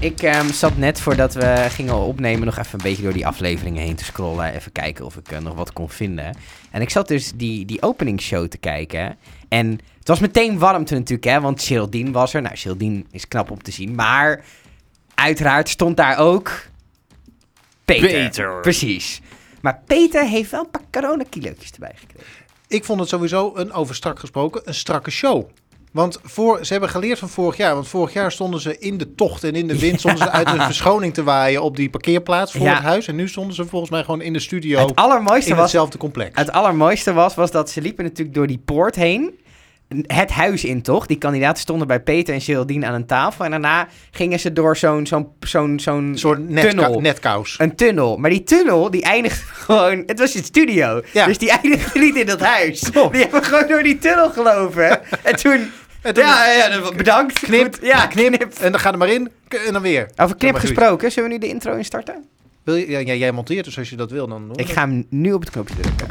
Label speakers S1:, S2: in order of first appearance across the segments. S1: ik ehm, zat net voordat we gingen opnemen nog even een beetje door die afleveringen heen te scrollen. Even kijken of ik eh, nog wat kon vinden. En ik zat dus die, die openingsshow te kijken. En het was meteen warmte natuurlijk, hè. Want Geraldine was er. Nou, Geraldine is knap om te zien. Maar uiteraard stond daar ook... Peter.
S2: Peter.
S1: Precies. Maar Peter heeft wel een paar coronakilootjes erbij gekregen.
S3: Ik vond het sowieso een over strak gesproken, een strakke show. Want voor, ze hebben geleerd van vorig jaar. Want vorig jaar stonden ze in de tocht en in de wind. Stonden ze uit hun verschoning te waaien op die parkeerplaats voor
S1: Ja.
S3: het huis. En nu stonden ze volgens mij gewoon in de studio
S1: Het allermooiste
S3: in
S1: was
S3: hetzelfde complex.
S1: Het allermooiste was, was dat ze liepen natuurlijk door die poort heen. Het huis in, toch? Die kandidaten stonden bij Peter en Geraldine aan een tafel. En daarna gingen ze door zo'n zo'n zo'n zo'n
S3: Een soort netka
S1: tunnel.
S3: netkous.
S1: Een tunnel. Maar die tunnel, die eindigt gewoon... Het was een studio.
S3: Ja.
S1: Dus die eindigde niet in dat huis. Die hebben gewoon door die tunnel gelopen. en toen...
S3: En toen
S1: ja, ja, dat- bedankt.
S3: knip,
S1: Goed. Ja, knip.
S3: En dan ga er maar in k- en dan weer.
S1: Over knip
S3: maar goed.
S1: gesproken, zullen we nu de intro instarten?
S3: Wil je, ja, ja, jij monteert, dus als je dat wil, dan...
S1: Ik ga hem nu op het knopje drukken.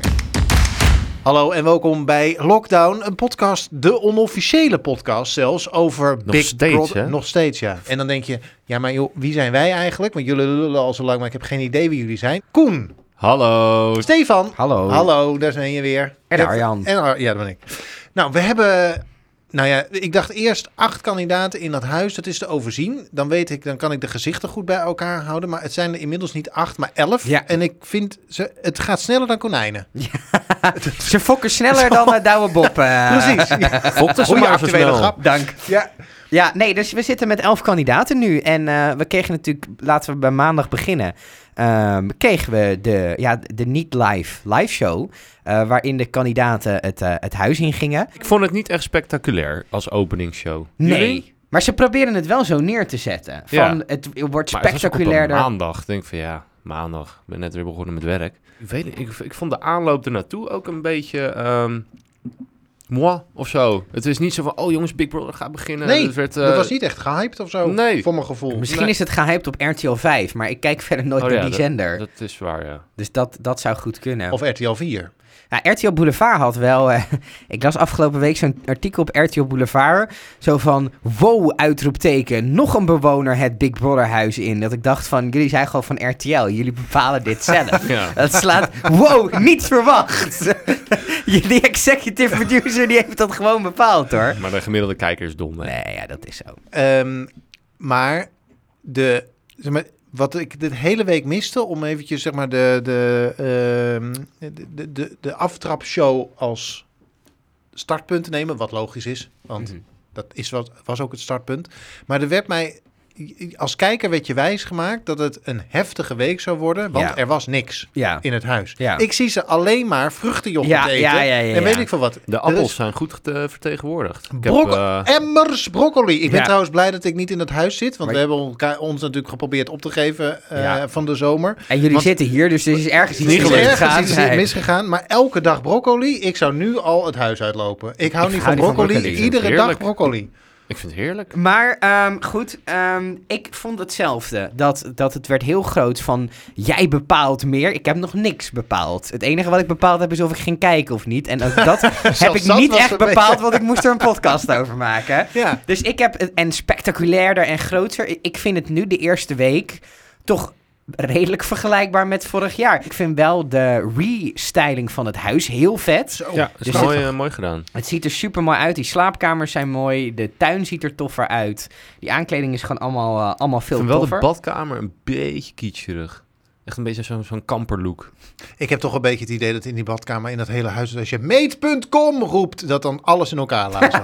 S3: Hallo en welkom bij Lockdown, een podcast, de onofficiële podcast zelfs, over
S2: Nog
S3: Big
S2: steeds,
S3: Brother.
S2: hè?
S3: Nog steeds, ja. En dan denk je, ja, maar joh, wie zijn wij eigenlijk? Want jullie lullen al zo lang, maar ik heb geen idee wie jullie zijn. Koen,
S2: Hallo.
S3: Stefan,
S1: Hallo.
S3: hallo, daar zijn je weer.
S1: En
S3: Dat-
S1: Arjan.
S3: En Ar- ja, dat ben ik. Nou, we hebben, nou ja, ik dacht eerst acht kandidaten in dat huis, dat is te overzien. Dan weet ik, dan kan ik de gezichten goed bij elkaar houden, maar het zijn er inmiddels niet acht, maar elf.
S1: Ja.
S3: En ik vind, ze, het gaat sneller dan konijnen.
S1: Ze fokken sneller dan eh, Douwe Bob. eh.
S3: Precies.
S2: Fokte ze
S3: Goeie
S2: maar zo
S3: actuele
S2: snel.
S3: grap.
S1: Dank.
S3: Ja.
S1: Ja, nee, dus we zitten met elf kandidaten nu. En eh, we kregen natuurlijk, laten we bij maandag beginnen. ehm, kregen we de, ja, de niet-live live show. eh, waarin de kandidaten het, eh, het huis in gingen.
S2: Ik vond het niet echt spectaculair als openingsshow.
S1: Nee.
S2: Jullie?
S1: Maar ze proberen het wel zo neer te zetten. Van,
S2: Ja.
S1: Het wordt
S2: Maar het was ook op een
S1: spectaculairder.
S2: maandag. Ik denk van ja, maandag. Ik ben net weer begonnen met werk. Ik weet niet, ik, ik vond de aanloop ernaartoe ook een beetje... ehm moi of zo. Het is niet zo van, oh jongens, Big Brother gaat beginnen.
S3: Nee,
S2: het werd,
S3: dat
S2: eh,
S3: was niet echt gehyped of zo,
S2: Nee.
S3: voor mijn gevoel.
S1: Misschien
S2: Nee.
S1: is het gehyped op RTL 5, maar ik kijk verder nooit
S2: Oh
S1: naar
S2: ja,
S1: die zender.
S2: Dat is waar, ja.
S1: Dus dat, dat zou goed kunnen.
S3: Of RTL 4.
S1: Nou, RTL Boulevard had wel. eh, ik las afgelopen week zo'n artikel op RTL Boulevard. Zo van: wow, uitroepteken. Nog een bewoner het Big Brother huis in. Dat ik dacht van: jullie zijn gewoon van RTL. Jullie bepalen dit zelf.
S2: ja.
S1: Dat slaat. Wow, niet verwacht. die executive producer die heeft dat gewoon bepaald hoor.
S2: Maar de gemiddelde kijker is dom, hè.
S1: Nee, ja, dat is zo.
S3: Ehm, maar de, zeg maar, wat ik de hele week miste, om eventjes zeg maar, de, de, ehm, de, de, de, de aftrapshow als startpunt te nemen, wat logisch is, want
S1: Mhm.
S3: dat is wat, was ook het startpunt. Maar er werd mij, als kijker werd je wijs gemaakt dat het een heftige week zou worden, want
S1: Ja.
S3: er was niks
S1: Ja.
S3: in het huis.
S1: Ja.
S3: Ik zie ze alleen maar vruchtenjocht
S1: Ja,
S3: eten
S1: ja, ja, ja,
S3: en weet
S1: ja.
S3: ik veel wat.
S2: De
S3: Er is-
S2: appels zijn goed eh, vertegenwoordigd. Ik heb,
S3: Brokkel-
S2: eh,
S3: Emmers broccoli. Ik ben
S1: Ja.
S3: trouwens blij dat ik niet in het huis zit. Want
S1: Maar-
S3: we hebben elkaar, ons natuurlijk geprobeerd op te geven eh,
S1: Ja.
S3: van de zomer.
S1: En jullie
S3: Want-
S1: zitten hier, dus er is ergens iets
S2: Niet
S3: Er is
S2: gelukt.
S3: ergens
S1: misgegaan.
S3: iets
S1: Nee.
S3: misgegaan. Maar elke dag broccoli. Ik zou nu al het huis uitlopen. Ik hou
S1: Ik
S3: niet
S1: hou
S3: van
S1: niet van
S3: broccoli.
S1: broccoli.
S3: Iedere
S2: Heerlijk.
S3: dag broccoli.
S2: ik vind het heerlijk.
S1: Maar ehm, goed, ehm, ik vond hetzelfde. Dat, dat het werd heel groot van jij bepaalt meer. Ik heb nog niks bepaald. Het enige wat ik bepaald heb is of ik ging kijken of niet. En ook dat heb ik
S3: dat
S1: niet
S3: was
S1: echt
S3: een beetje-
S1: bepaald, want ik moest er een podcast over maken.
S3: Ja.
S1: Dus ik heb het en spectaculairder en groter. Ik- Ik vind het nu de eerste week toch redelijk vergelijkbaar met vorig jaar. Ik vind wel de restyling van het huis heel vet.
S3: Zo.
S2: Ja, is
S1: Dus
S2: mooi, eh, mooi gedaan.
S1: Het ziet er super mooi uit. Die slaapkamers zijn mooi. De tuin ziet er toffer uit. Die aankleding is gewoon allemaal, eh, allemaal
S2: Ik
S1: veel
S2: vind wel de
S1: toffer.
S2: badkamer een beetje kitscherig. Eh, Echt een beetje zo'n zo'n kamperlook.
S3: Ik heb toch een beetje het idee dat in die badkamer, in dat hele huis, als je meet.com roept, dat dan alles in elkaar laat.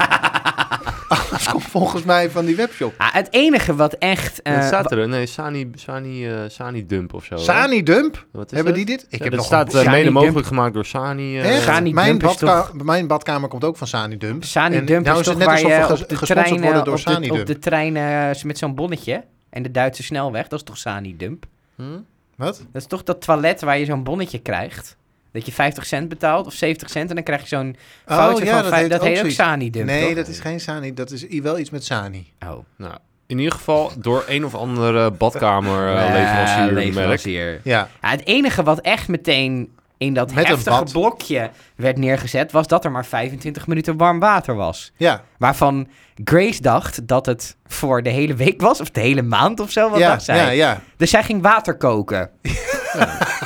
S3: alles komt volgens mij van die webshop.
S1: Ah, het enige wat echt. eh,
S2: Het staat
S1: wa-
S2: er, nee, Sani, Sani, eh, Sani Dump of zo. hè?
S3: Sani Dump,
S2: Wat is
S3: hebben
S2: dat?
S3: die dit?
S2: Ja,
S3: Ik heb
S2: dat
S3: nog
S2: staat eh,
S1: Sani
S2: mede
S1: Dump.
S2: mogelijk gemaakt door Sani. eh,
S3: Echt?
S1: Sani
S3: mijn,
S1: Dump is
S3: badka- mijn badkamer komt ook van Sani Dump.
S1: Sani
S3: En
S1: Dump
S3: nou
S1: is
S3: is het
S1: toch
S3: net
S1: waar
S3: alsof
S1: je
S3: we
S1: op
S3: ges-
S1: de
S3: gesponsord
S1: treinen,
S3: worden door
S1: op de,
S3: Sani
S1: op
S3: Dump.
S1: de treinen eh, met zo'n bonnetje. En de Duitse snelweg, dat is toch Sani Dump?
S2: hm?
S3: Wat?
S1: Dat is toch dat toilet waar je zo'n bonnetje krijgt? Dat je 50 cent betaalt of 70 cent en dan krijg je zo'n
S3: Oh
S1: voucher van vijf- dat heet ook
S3: zoiets.
S1: Sani Dump.
S3: Nee,
S1: toch?
S3: dat is geen Sani. Dat is i- wel iets met Sani.
S1: Oh.
S2: Nou, in ieder geval door een of andere badkamer eh,
S1: Eh,
S2: leverancier merk.
S1: leverancier.
S3: Ja.
S1: Ja, het enige wat echt meteen in dat
S3: Met een
S1: heftige
S3: bad.
S1: blokje werd neergezet, was dat er maar 25 minuten warm water was.
S3: Ja,
S1: Waarvan Grace dacht dat het voor de hele week was, of de hele maand of zo, wat
S3: ja,
S1: dacht zij.
S3: ja, ja.
S1: Dus zij ging water koken.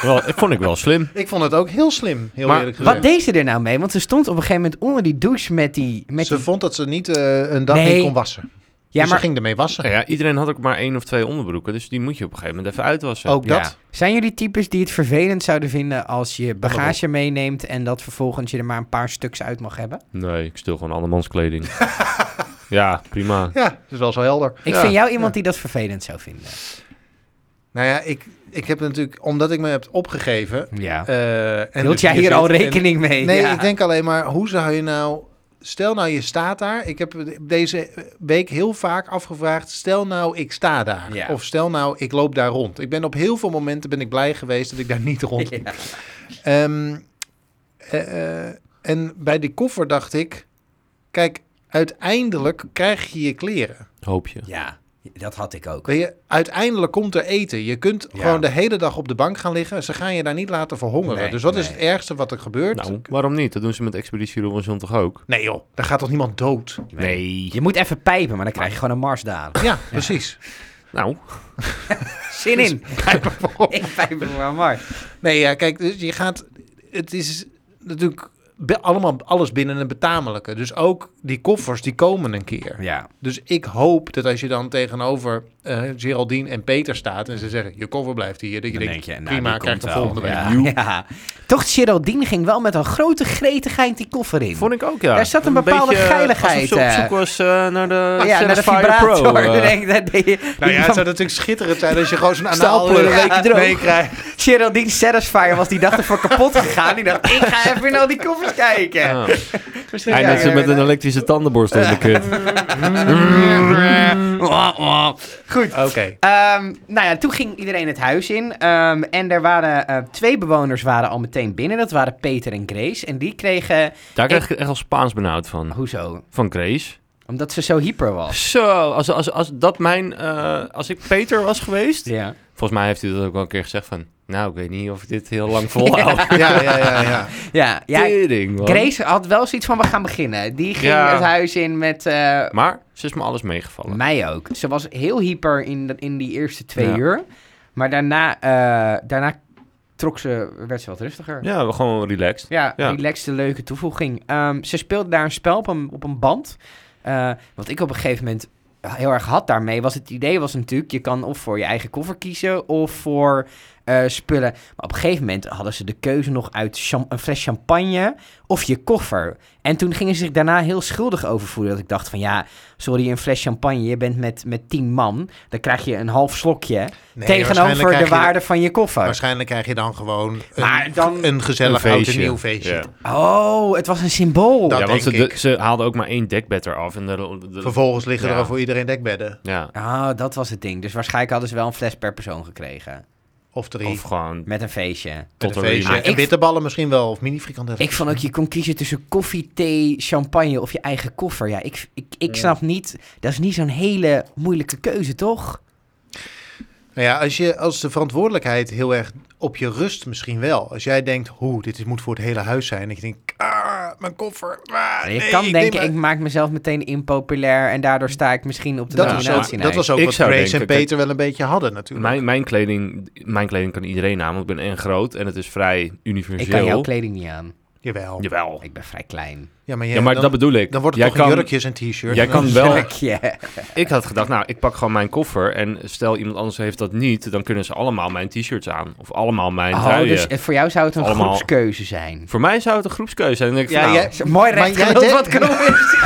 S2: Wel, dat vond ik wel slim.
S3: Ik vond het ook heel slim, heel
S2: Maar
S3: eerlijk gezegd.
S1: Wat deed ze er nou mee? Want ze stond op een gegeven moment onder die douche met die... Met
S3: Ze
S1: die-
S3: vond dat ze niet eh, een dag
S1: Nee.
S3: niet kon wassen.
S1: ja,
S3: dus
S1: maar
S3: ze ging ermee wassen.
S2: Nou ja, iedereen had ook maar één of twee onderbroeken, dus die moet je op een gegeven moment even uitwassen.
S3: Ook
S1: Ja.
S3: dat.
S1: Zijn jullie types die het vervelend zouden vinden als je bagage meeneemt en dat vervolgens je er maar een paar stuks uit mag hebben?
S2: Nee, ik stil gewoon andermans kleding. ja, prima.
S3: Ja, dat is wel zo helder.
S1: Ik
S2: Ja.
S1: vind jou iemand die dat vervelend zou vinden.
S3: Nou ja, ik, ik heb natuurlijk, omdat ik me heb opgegeven.
S1: Ja.
S3: eh, en
S1: Hield
S3: dus
S1: jij hier
S3: zit
S1: al
S3: en-
S1: rekening mee?
S3: nee,
S1: Ja.
S3: ik denk alleen maar, hoe zou je nou... Stel nou, je staat daar. Ik heb deze week heel vaak afgevraagd, stel nou, ik sta daar.
S1: Ja.
S3: Of stel nou, ik loop daar rond. Ik ben op heel veel momenten ben ik blij geweest dat ik daar niet rond liep.
S1: Ja.
S3: Ehm, eh, eh, en bij die koffer dacht ik, kijk, uiteindelijk krijg je je kleren.
S2: Hoop je.
S1: Ja, dat had ik ook.
S3: Weet je, uiteindelijk komt er eten. Je kunt
S1: Ja.
S3: gewoon de hele dag op de bank gaan liggen. Ze gaan je daar niet laten verhongeren.
S1: Nee,
S3: dus wat is
S1: nee.
S3: het ergste wat er gebeurt?
S2: Nou, waarom niet? Dat doen ze met Expeditie Robinson toch ook?
S3: Nee joh, daar gaat toch niemand dood?
S1: Je moet even pijpen, maar dan krijg je gewoon een marsdaling.
S3: Ja, precies.
S2: Nou,
S1: Zin in. Ik pijp me maar mars.
S3: Nee, ja, kijk, dus je gaat... Het is natuurlijk be- allemaal alles binnen een betamelijke. Dus ook die koffers, die komen een keer.
S1: Ja.
S3: Dus ik hoop dat als je dan tegenover eh, Geraldine en Peter staat... en ze zeggen, je koffer blijft hier, dat je
S1: Dan
S3: denkt,
S1: denk je, nou,
S3: prima,
S1: die
S3: krijg de
S1: komt
S3: volgende
S1: wel.
S3: week.
S1: Ja. Ja. Toch, Geraldine ging wel met een grote gretigheid die koffer in.
S2: vond ik ook, ja.
S1: Daar zat een bepaalde
S2: beetje, eh,
S1: geiligheid,
S2: Alsof ze op
S1: eh.
S2: zoek was eh, naar de
S1: ja, naar de
S2: Satisfyer
S1: vibrator.
S2: Pro. eh.
S1: Denk, dat deed je-
S3: Nou
S1: die
S3: ja, het
S1: van
S3: zou natuurlijk schitterend zijn als je gewoon zo'n anaal
S1: Stapelen.
S3: een
S1: Ja,
S3: week
S1: droog.
S3: meekrijgt.
S1: Geraldine Satisfyer was die dag ervoor kapot gegaan. Die dacht, ik ga even naar die koffers kijken.
S2: Ja.
S1: Misschien
S2: Hij
S1: ja,
S2: net zo
S1: ja,
S2: met
S1: ja.
S2: een elektrische tandenborstel in de kut.
S1: Wah, wah. Goed.
S3: Oké.
S1: Ehm, nou ja, toen ging iedereen het huis in. Ehm, en er waren eh, twee bewoners waren al meteen binnen. Dat waren Peter en Grace. En die kregen...
S2: Daar krijg ik echt al Spaans benauwd van.
S1: Hoezo?
S2: Van Grace.
S1: Omdat ze zo hyper was.
S2: Zo, als, als, als dat mijn... eh, als ik Peter was geweest...
S1: Ja.
S2: Volgens mij heeft hij dat ook wel een keer gezegd van... Nou, ik weet niet of ik dit heel lang volhoud.
S3: Ja, ja, ja, ja.
S1: Ja, ja
S2: Tering, man.
S1: Grace had wel zoiets van, we gaan beginnen. Die ging
S2: Ja.
S1: het huis in met... eh,
S2: Maar ze is me alles meegevallen.
S1: mij ook. Ze was heel hyper in, de- in die eerste twee
S2: Ja.
S1: uur. Maar daarna, eh, daarna trok ze, werd ze wat rustiger.
S2: Ja, we gewoon relaxed.
S1: Ja,
S2: Ja.
S1: relaxed, een leuke toevoeging. Ehm, ze speelde daar een spel op een, op een band. Eh, wat ik op een gegeven moment heel erg had daarmee, was het idee was natuurlijk... je kan of voor je eigen koffer kiezen of voor eh, spullen. Maar op een gegeven moment hadden ze de keuze nog uit cham- een fles champagne of je koffer. En toen gingen ze zich daarna heel schuldig over voelen. Dat ik dacht van ja, sorry, een fles champagne, je bent met, met tien man. Dan krijg je een half slokje
S3: Nee, waarschijnlijk
S1: tegenover
S3: krijg
S1: de
S3: je dan-
S1: waarde van je koffer.
S3: Waarschijnlijk krijg je dan gewoon een,
S1: Maar dan-
S3: een
S2: Een
S3: gezellig oud en nieuw feestje.
S2: Ja.
S1: Oh, het was een symbool.
S3: Dat
S2: ja, want ze,
S3: denk ik.
S2: ze haalden ook maar één dekbed eraf. En de, de-
S3: Vervolgens liggen
S2: Ja.
S3: er al voor iedereen dekbedden.
S2: ja,
S1: Ah, dat was het ding. Dus waarschijnlijk hadden ze wel een fles per persoon gekregen.
S3: Of drie.
S2: of gewoon
S1: Met een feestje.
S2: tot
S3: tot
S2: een
S3: een feestje.
S2: remake.
S1: Maar ik-
S3: En bitterballen misschien wel. Of mini frikandellen.
S1: Ik vond ook, je kon kiezen tussen koffie, thee, champagne of je eigen koffer. Ja, ik, ik, ik snap niet... Dat is niet zo'n hele moeilijke keuze, toch?
S3: Nou ja, als, je, als de verantwoordelijkheid heel erg op je rust misschien wel. Als jij denkt, hoe, dit is- moet voor het hele huis zijn. Dat je denkt, ah, mijn koffer. Ah,
S1: je
S3: nee,
S1: kan
S3: ik
S1: denken,
S3: neem-
S1: ik maak mezelf meteen impopulair... en daardoor sta ik misschien op de
S3: dat,
S2: Ja,
S3: was
S1: nominatie.
S3: ook, dat was ook
S2: Ik
S3: wat
S2: zou
S3: Grace en
S2: denken, kijk-
S3: Peter wel een beetje hadden natuurlijk.
S2: Mijn, mijn, kleding, mijn kleding kan iedereen aan, want ik ben en groot en het is vrij
S1: Ik
S2: universeel.
S1: kan jouw kleding niet aan.
S3: Jawel.
S2: Jawel.
S1: Ik ben vrij klein.
S3: Ja, maar, jij-
S2: Ja, maar
S3: dan,
S2: dat bedoel ik.
S3: dan wordt het
S2: Jij
S3: toch een
S2: kan-
S3: jurkjes en t-shirt.
S2: jij
S3: En dan-
S2: kan wel-
S1: Jurkje.
S2: Ik had gedacht, nou, ik pak gewoon mijn koffer en stel iemand anders heeft dat niet, dan kunnen ze allemaal mijn t-shirts aan. Of allemaal mijn
S1: Oh,
S2: truien.
S1: dus eh, voor jou zou het een
S2: Allemaal.
S1: groepskeuze zijn.
S2: Voor mij zou het een groepskeuze zijn. Dan denk ik
S3: Ja,
S2: van, nou,
S3: jij-
S1: Mooi
S3: Maar
S1: recht
S3: jij
S1: gelul,
S3: denkt-
S1: wat knop is.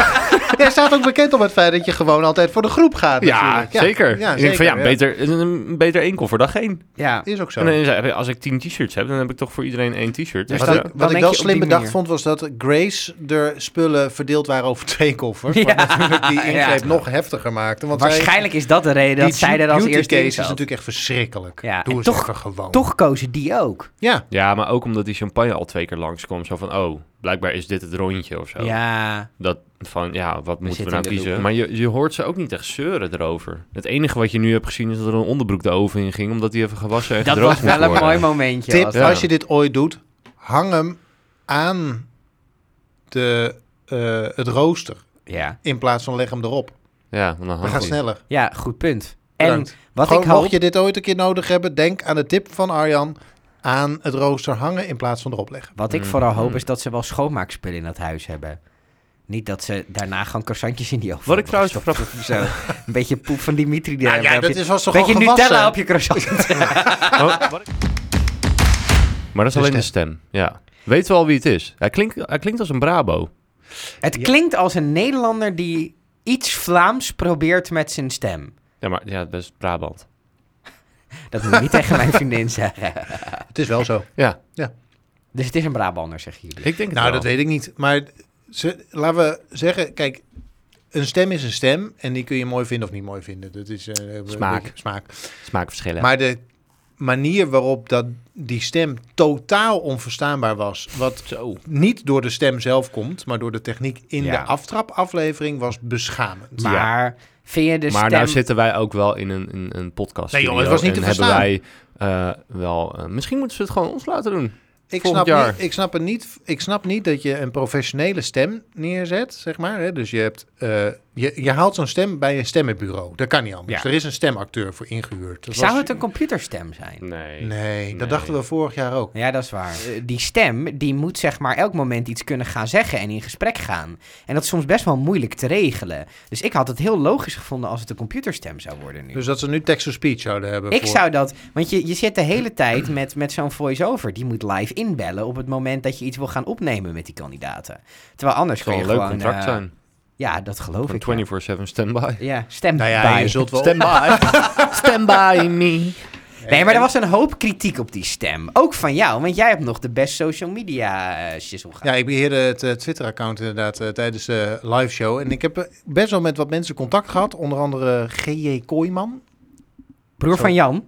S3: Jij staat ook bekend om het feit dat je gewoon altijd voor de groep gaat.
S2: nou, ja,
S3: natuurlijk.
S2: zeker.
S3: Ja,
S2: ik denk van, ja,
S3: zeker,
S2: Beter, een- beter één koffer dan geen.
S1: Ja,
S3: Is ook zo.
S2: En dan is hij- als ik tien t-shirts heb, dan heb ik toch voor iedereen één t-shirt.
S1: Dus
S2: Dus
S3: wat
S1: dan-
S2: ja.
S3: ik,
S1: denk
S3: wat ik
S1: je op
S3: wel
S1: die
S3: slim
S1: manier.
S3: bedacht vond, was dat Grace de spullen verdeeld waren over twee koffers.
S1: Ja.
S3: Wat natuurlijk die ingreep
S1: Ja.
S3: nog heftiger maakte. Want zij-
S1: waarschijnlijk is dat de reden
S3: eh,
S1: dat
S3: die
S1: zij er als
S3: beauty
S1: eerste
S3: case
S1: in
S3: is
S1: zat.
S3: natuurlijk echt verschrikkelijk.
S1: Ja,
S3: Doe
S1: en
S3: eens
S1: toch-
S3: even gewoon.
S1: Toch kozen die ook.
S3: Ja,
S2: ja, maar ook omdat die champagne al twee keer langskwam. Zo van, oh, blijkbaar is dit het rondje of zo.
S1: Ja.
S2: Dat van, ja, wat moeten we
S1: zitten
S2: nou
S1: in de
S2: kiezen?
S1: loop.
S2: Maar je, je hoort ze ook niet echt zeuren erover. Het enige wat je nu hebt gezien is dat er een onderbroek de oven in ging, omdat die even gewassen en
S1: Dat
S2: gedroogd
S1: was wel
S2: moest
S1: een
S2: worden.
S1: mooi momentje.
S3: tip
S1: was
S2: Ja.
S1: dat.
S3: als je dit ooit doet, hang hem aan de, eh, het rooster
S1: Ja.
S3: in plaats van leg hem erop.
S2: Ja, want dan
S3: We
S2: hangt
S3: gaan
S2: hij.
S3: sneller.
S1: ja, Ah, goed punt. En
S3: Bedankt.
S1: wat
S3: Gewoon,
S1: ik hoop...
S3: Mocht je dit ooit een keer nodig hebben, denk aan de tip van Arjan. Aan het rooster hangen in plaats van erop leggen.
S1: Wat ik
S2: Mm.
S1: vooral hoop
S2: Mm.
S1: is dat ze wel schoonmaakspullen in dat huis hebben. Niet dat ze daarna gewoon croissantjes in die oven
S2: Wat ik
S1: hebben
S2: trouwens
S1: gestopt
S2: grappig-
S1: of Zo. Een beetje poep van Dimitri. daar
S3: Nou ja,
S1: heb
S3: dat
S1: je-
S3: is was toch
S1: Beetje
S3: gewoon gewassen?
S1: Nutella op je croissant.
S2: Oh, wat ik- Maar dat is
S3: De
S2: alleen de stem, ja. Weten we al wie het is? Hij klinkt, hij klinkt als een Brabo.
S1: het
S3: Ja.
S1: klinkt als een Nederlander die iets Vlaams probeert met zijn stem.
S2: Ja, maar ja, best Brabant.
S1: Dat moet ik niet tegen mijn vriendin zeggen.
S3: Het is wel zo.
S2: Ja,
S1: Dus het is een Brabander, zeggen jullie.
S2: ik denk het
S3: Nou,
S2: wel.
S3: dat weet ik niet. Maar ze, laten we zeggen, kijk, een stem is een stem en die kun je mooi vinden of niet mooi vinden. Dat is eh, een
S2: Smaak.
S3: beetje smaak.
S2: Smaakverschillen.
S3: Maar de manier waarop dat, die stem totaal onverstaanbaar was, wat
S2: Zo.
S3: niet door de stem zelf komt, maar door de techniek in
S1: Ja.
S3: de aftrapaflevering, was beschamend.
S2: Ja.
S1: Maar vind je de
S2: maar
S1: stem...
S2: nou zitten wij ook wel in een, in een podcast.
S3: Nee, joh, het was niet te
S2: en hebben
S3: verstaan.
S2: wij eh, wel... eh, misschien moeten ze het gewoon ons laten doen.
S3: Ik
S2: Volgend
S3: snap,
S2: jaar.
S3: Niet, ik, snap het niet, ik snap niet dat je een professionele stem neerzet, zeg maar. Hè? Dus je, hebt, eh, je, je haalt zo'n stem bij een stemmenbureau. Dat kan niet anders.
S1: Ja.
S3: Er is een stemacteur voor ingehuurd. Dat
S1: Zou
S3: was-
S1: het een computerstem zijn?
S2: Nee.
S3: Nee, dat
S2: Nee.
S3: dachten we vorig jaar ook.
S1: Ja, dat is waar. Eh, Die stem, die moet zeg maar elk moment iets kunnen gaan zeggen en in gesprek gaan. En dat is soms best wel moeilijk te regelen. Dus ik had het heel logisch gevonden als het een computerstem zou worden nu.
S3: Dus dat ze nu text-to-speech zouden hebben.
S1: ik
S3: voor-
S1: zou dat, want je, je zit de hele tijd met, met zo'n voice-over. Die moet live inbellen op het moment dat je iets wil gaan opnemen met die kandidaten. Terwijl anders
S2: Het zal
S1: kan je
S2: een leuk
S1: gewoon...
S2: contract
S1: eh,
S2: zijn.
S1: Ja, dat geloof ik. wel.
S2: Van 24-7 standby.
S1: Ja, stem
S3: Nou ja, je
S1: bij.
S3: zult wel...
S2: Standby. standby me.
S1: Nee, maar er was een hoop kritiek op die stem. Ook van jou, want jij hebt nog de best social media eh shizzle gehad.
S3: Ja, ik beheerde het eh, Twitter-account inderdaad eh, tijdens de live show. En ik heb eh, best wel met wat mensen contact gehad. Onder andere G.J. Kooiman.
S1: Broer van Jan.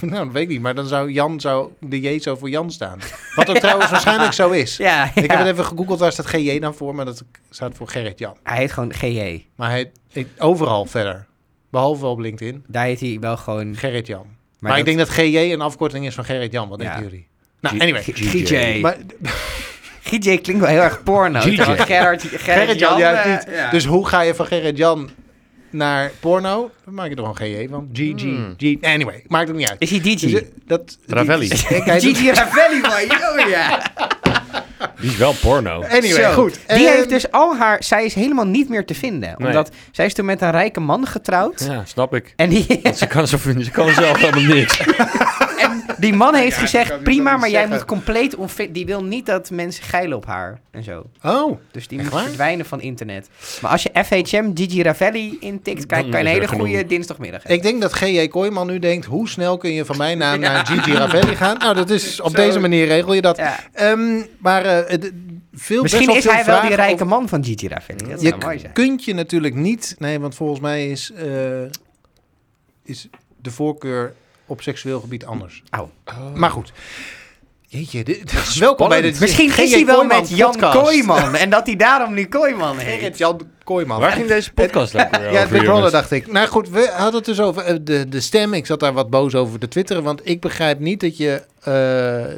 S3: nou, dat weet ik niet. Maar dan zou Jan, zou de J zou voor Jan staan. Wat ook trouwens waarschijnlijk zo is.
S1: Ja,
S3: Ik
S1: ja.
S3: heb het even gegoogeld, waar staat GJ dan voor? Maar dat staat voor Gerrit Jan.
S1: Hij heet gewoon GJ.
S3: Maar hij, hij- overal verder. Behalve op LinkedIn.
S1: Daar heet hij wel gewoon...
S3: Gerrit Jan. Maar,
S1: dat-
S3: ik denk dat GJ een afkorting is van Gerrit Jan. Wat
S1: Ja.
S3: denken jullie? Nou,
S2: G-
S3: anyway.
S1: G- GJ.
S3: Maar,
S1: GJ klinkt wel heel erg porno.
S2: GJ.
S1: Terwijl Gerard, Gerrit,
S3: Gerrit Jan
S1: Jan,
S3: juist
S1: eh,
S3: niet.
S1: ja.
S3: Dus hoe ga je van Gerrit Jan naar porno? Dan maak je er gewoon GJ van. GG.
S2: Hmm.
S3: G, anyway, maakt het niet uit.
S1: Is hij DJ?
S3: Dus, eh, dat,
S2: Ravelli.
S3: die- dus- ik- hij doet-
S1: DJ Ravelli, man. Yo, ja.
S2: Die is wel porno.
S3: Anyway,
S1: Zo.
S3: goed.
S1: Die
S3: Eh,
S1: heeft dus al haar... Zij is helemaal niet meer te vinden.
S2: Nee.
S1: Omdat zij is toen met een rijke man getrouwd.
S2: Ja, snap ik.
S1: En die,
S2: Want ze kan, zo, ze kan zelf helemaal niks.
S1: en die man heeft
S3: ja, ik kan
S1: gezegd,
S3: niet
S1: prima,
S3: anders
S1: maar jij
S3: zeggen."
S1: moet compleet onfit... Die wil niet dat mensen geilen op haar en zo.
S3: Oh,
S1: Dus die
S3: Echt
S1: moet
S3: waar?
S1: verdwijnen van internet. Maar als je FHM Gigi Ravelli intikt, kan,
S3: eh,
S2: Dan
S1: kan je een
S2: is er
S1: hele goede
S2: genoeg.
S1: dinsdagmiddag hebben.
S3: Ik denk dat G.J. Kooijman nu denkt... hoe snel kun je van mijn naam naar Gigi Ravelli gaan? Nou, dat is, op
S1: Zo.
S3: deze manier regel je dat.
S1: Ja.
S3: Ehm, maar eh, het- veel,
S1: Misschien
S3: best
S1: is hij wel die
S3: vragen
S1: rijke
S3: over-
S1: man van Gigi Ravelli. Dat
S3: Je
S1: zou mooi zijn.
S3: kunt je natuurlijk niet... Nee, want volgens mij is, eh, is de voorkeur op seksueel gebied anders.
S1: Au.
S3: Maar goed. Jeetje, dit, is welkom bij de
S1: Misschien
S3: G.J.
S1: is hij wel
S3: Kooijman
S1: met Jan
S3: podcast.
S1: Kooiman. En dat hij daarom nu Kooiman heet.
S3: Gerrit Jan Kooijman.
S2: Waar ging deze podcast lekker over,
S3: Ja, Big Brother
S2: jongens?
S3: dacht ik. Nou goed, we hadden het dus over eh, de, de stem. Ik zat daar wat boos over te twitteren, want ik begrijp niet dat je... eh,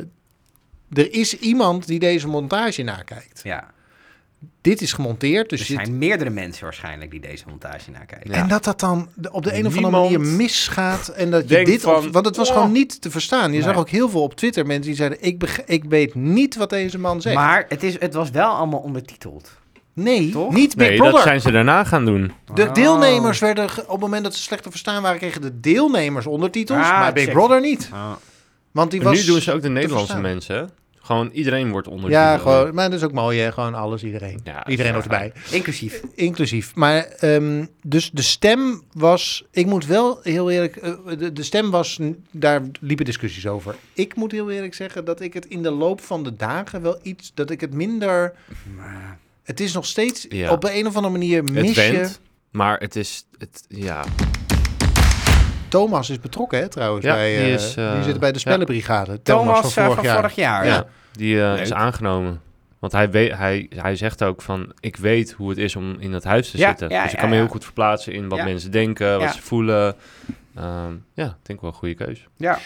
S3: er is iemand die deze montage nakijkt.
S1: Ja,
S3: Dit is gemonteerd,
S1: er
S3: dus dit...
S1: zijn meerdere mensen waarschijnlijk die deze montage nakijken.
S2: Ja.
S3: En dat dat dan de- op de een of andere
S2: Niemand
S3: manier misgaat. En dat je
S2: denkt
S3: dit. op-
S2: van,
S3: want het was
S2: oh.
S3: gewoon niet te verstaan. Je
S1: Nee.
S3: zag ook heel veel op Twitter mensen die zeiden: ik, beg- ik weet niet wat deze man zegt.
S1: Maar het, is, het was wel allemaal ondertiteld.
S3: nee,
S1: Toch?
S3: niet Big
S2: Nee, dat
S3: Brother.
S2: zijn ze daarna gaan doen.
S3: De
S1: Oh.
S3: deelnemers werden, ge- op het moment dat ze slecht te verstaan waren, kregen de deelnemers ondertitels.
S1: Ah,
S3: maar Big
S1: check.
S3: Brother niet.
S1: Oh.
S3: Want die
S2: En
S3: was.
S2: nu doen ze ook de Nederlandse
S3: verstaan.
S2: mensen. hè? Gewoon iedereen wordt onder.
S3: Ja, gewoon, maar dat is ook mooi, hè? gewoon alles, iedereen.
S2: Ja,
S3: iedereen
S2: ja.
S3: hoort erbij,
S1: Inclusief.
S3: inclusief. Maar ehm, dus de stem was, ik moet wel heel eerlijk, eh, de, de stem was, n- daar liepen discussies over. Ik moet heel eerlijk zeggen dat ik het in de loop van de dagen wel iets, dat ik het minder,
S1: Maar
S3: het is nog steeds
S2: Ja.
S3: op de een of andere manier
S2: Het
S3: mis je.
S2: went, maar het is... Het, ja.
S3: Thomas is betrokken hè, trouwens,
S2: Ja,
S3: bij, eh,
S2: die
S3: die,
S2: is, eh,
S3: zit bij de
S2: ja.
S3: spellenbrigade.
S1: Thomas eh,
S3: van vorig
S1: jaar.
S3: jaar.
S2: Ja, die eh,
S1: Leuk.
S2: is aangenomen. Want hij, weet, hij, hij zegt ook van, ik weet hoe het is om in dat huis te
S1: Ja,
S2: zitten.
S1: ja,
S2: dus ik
S1: ja,
S2: kan me
S1: ja.
S2: heel goed verplaatsen in wat
S1: Ja.
S2: mensen denken, wat
S1: Ja.
S2: ze voelen. Ehm, ja, ik denk wel een goede keus.
S1: Ja.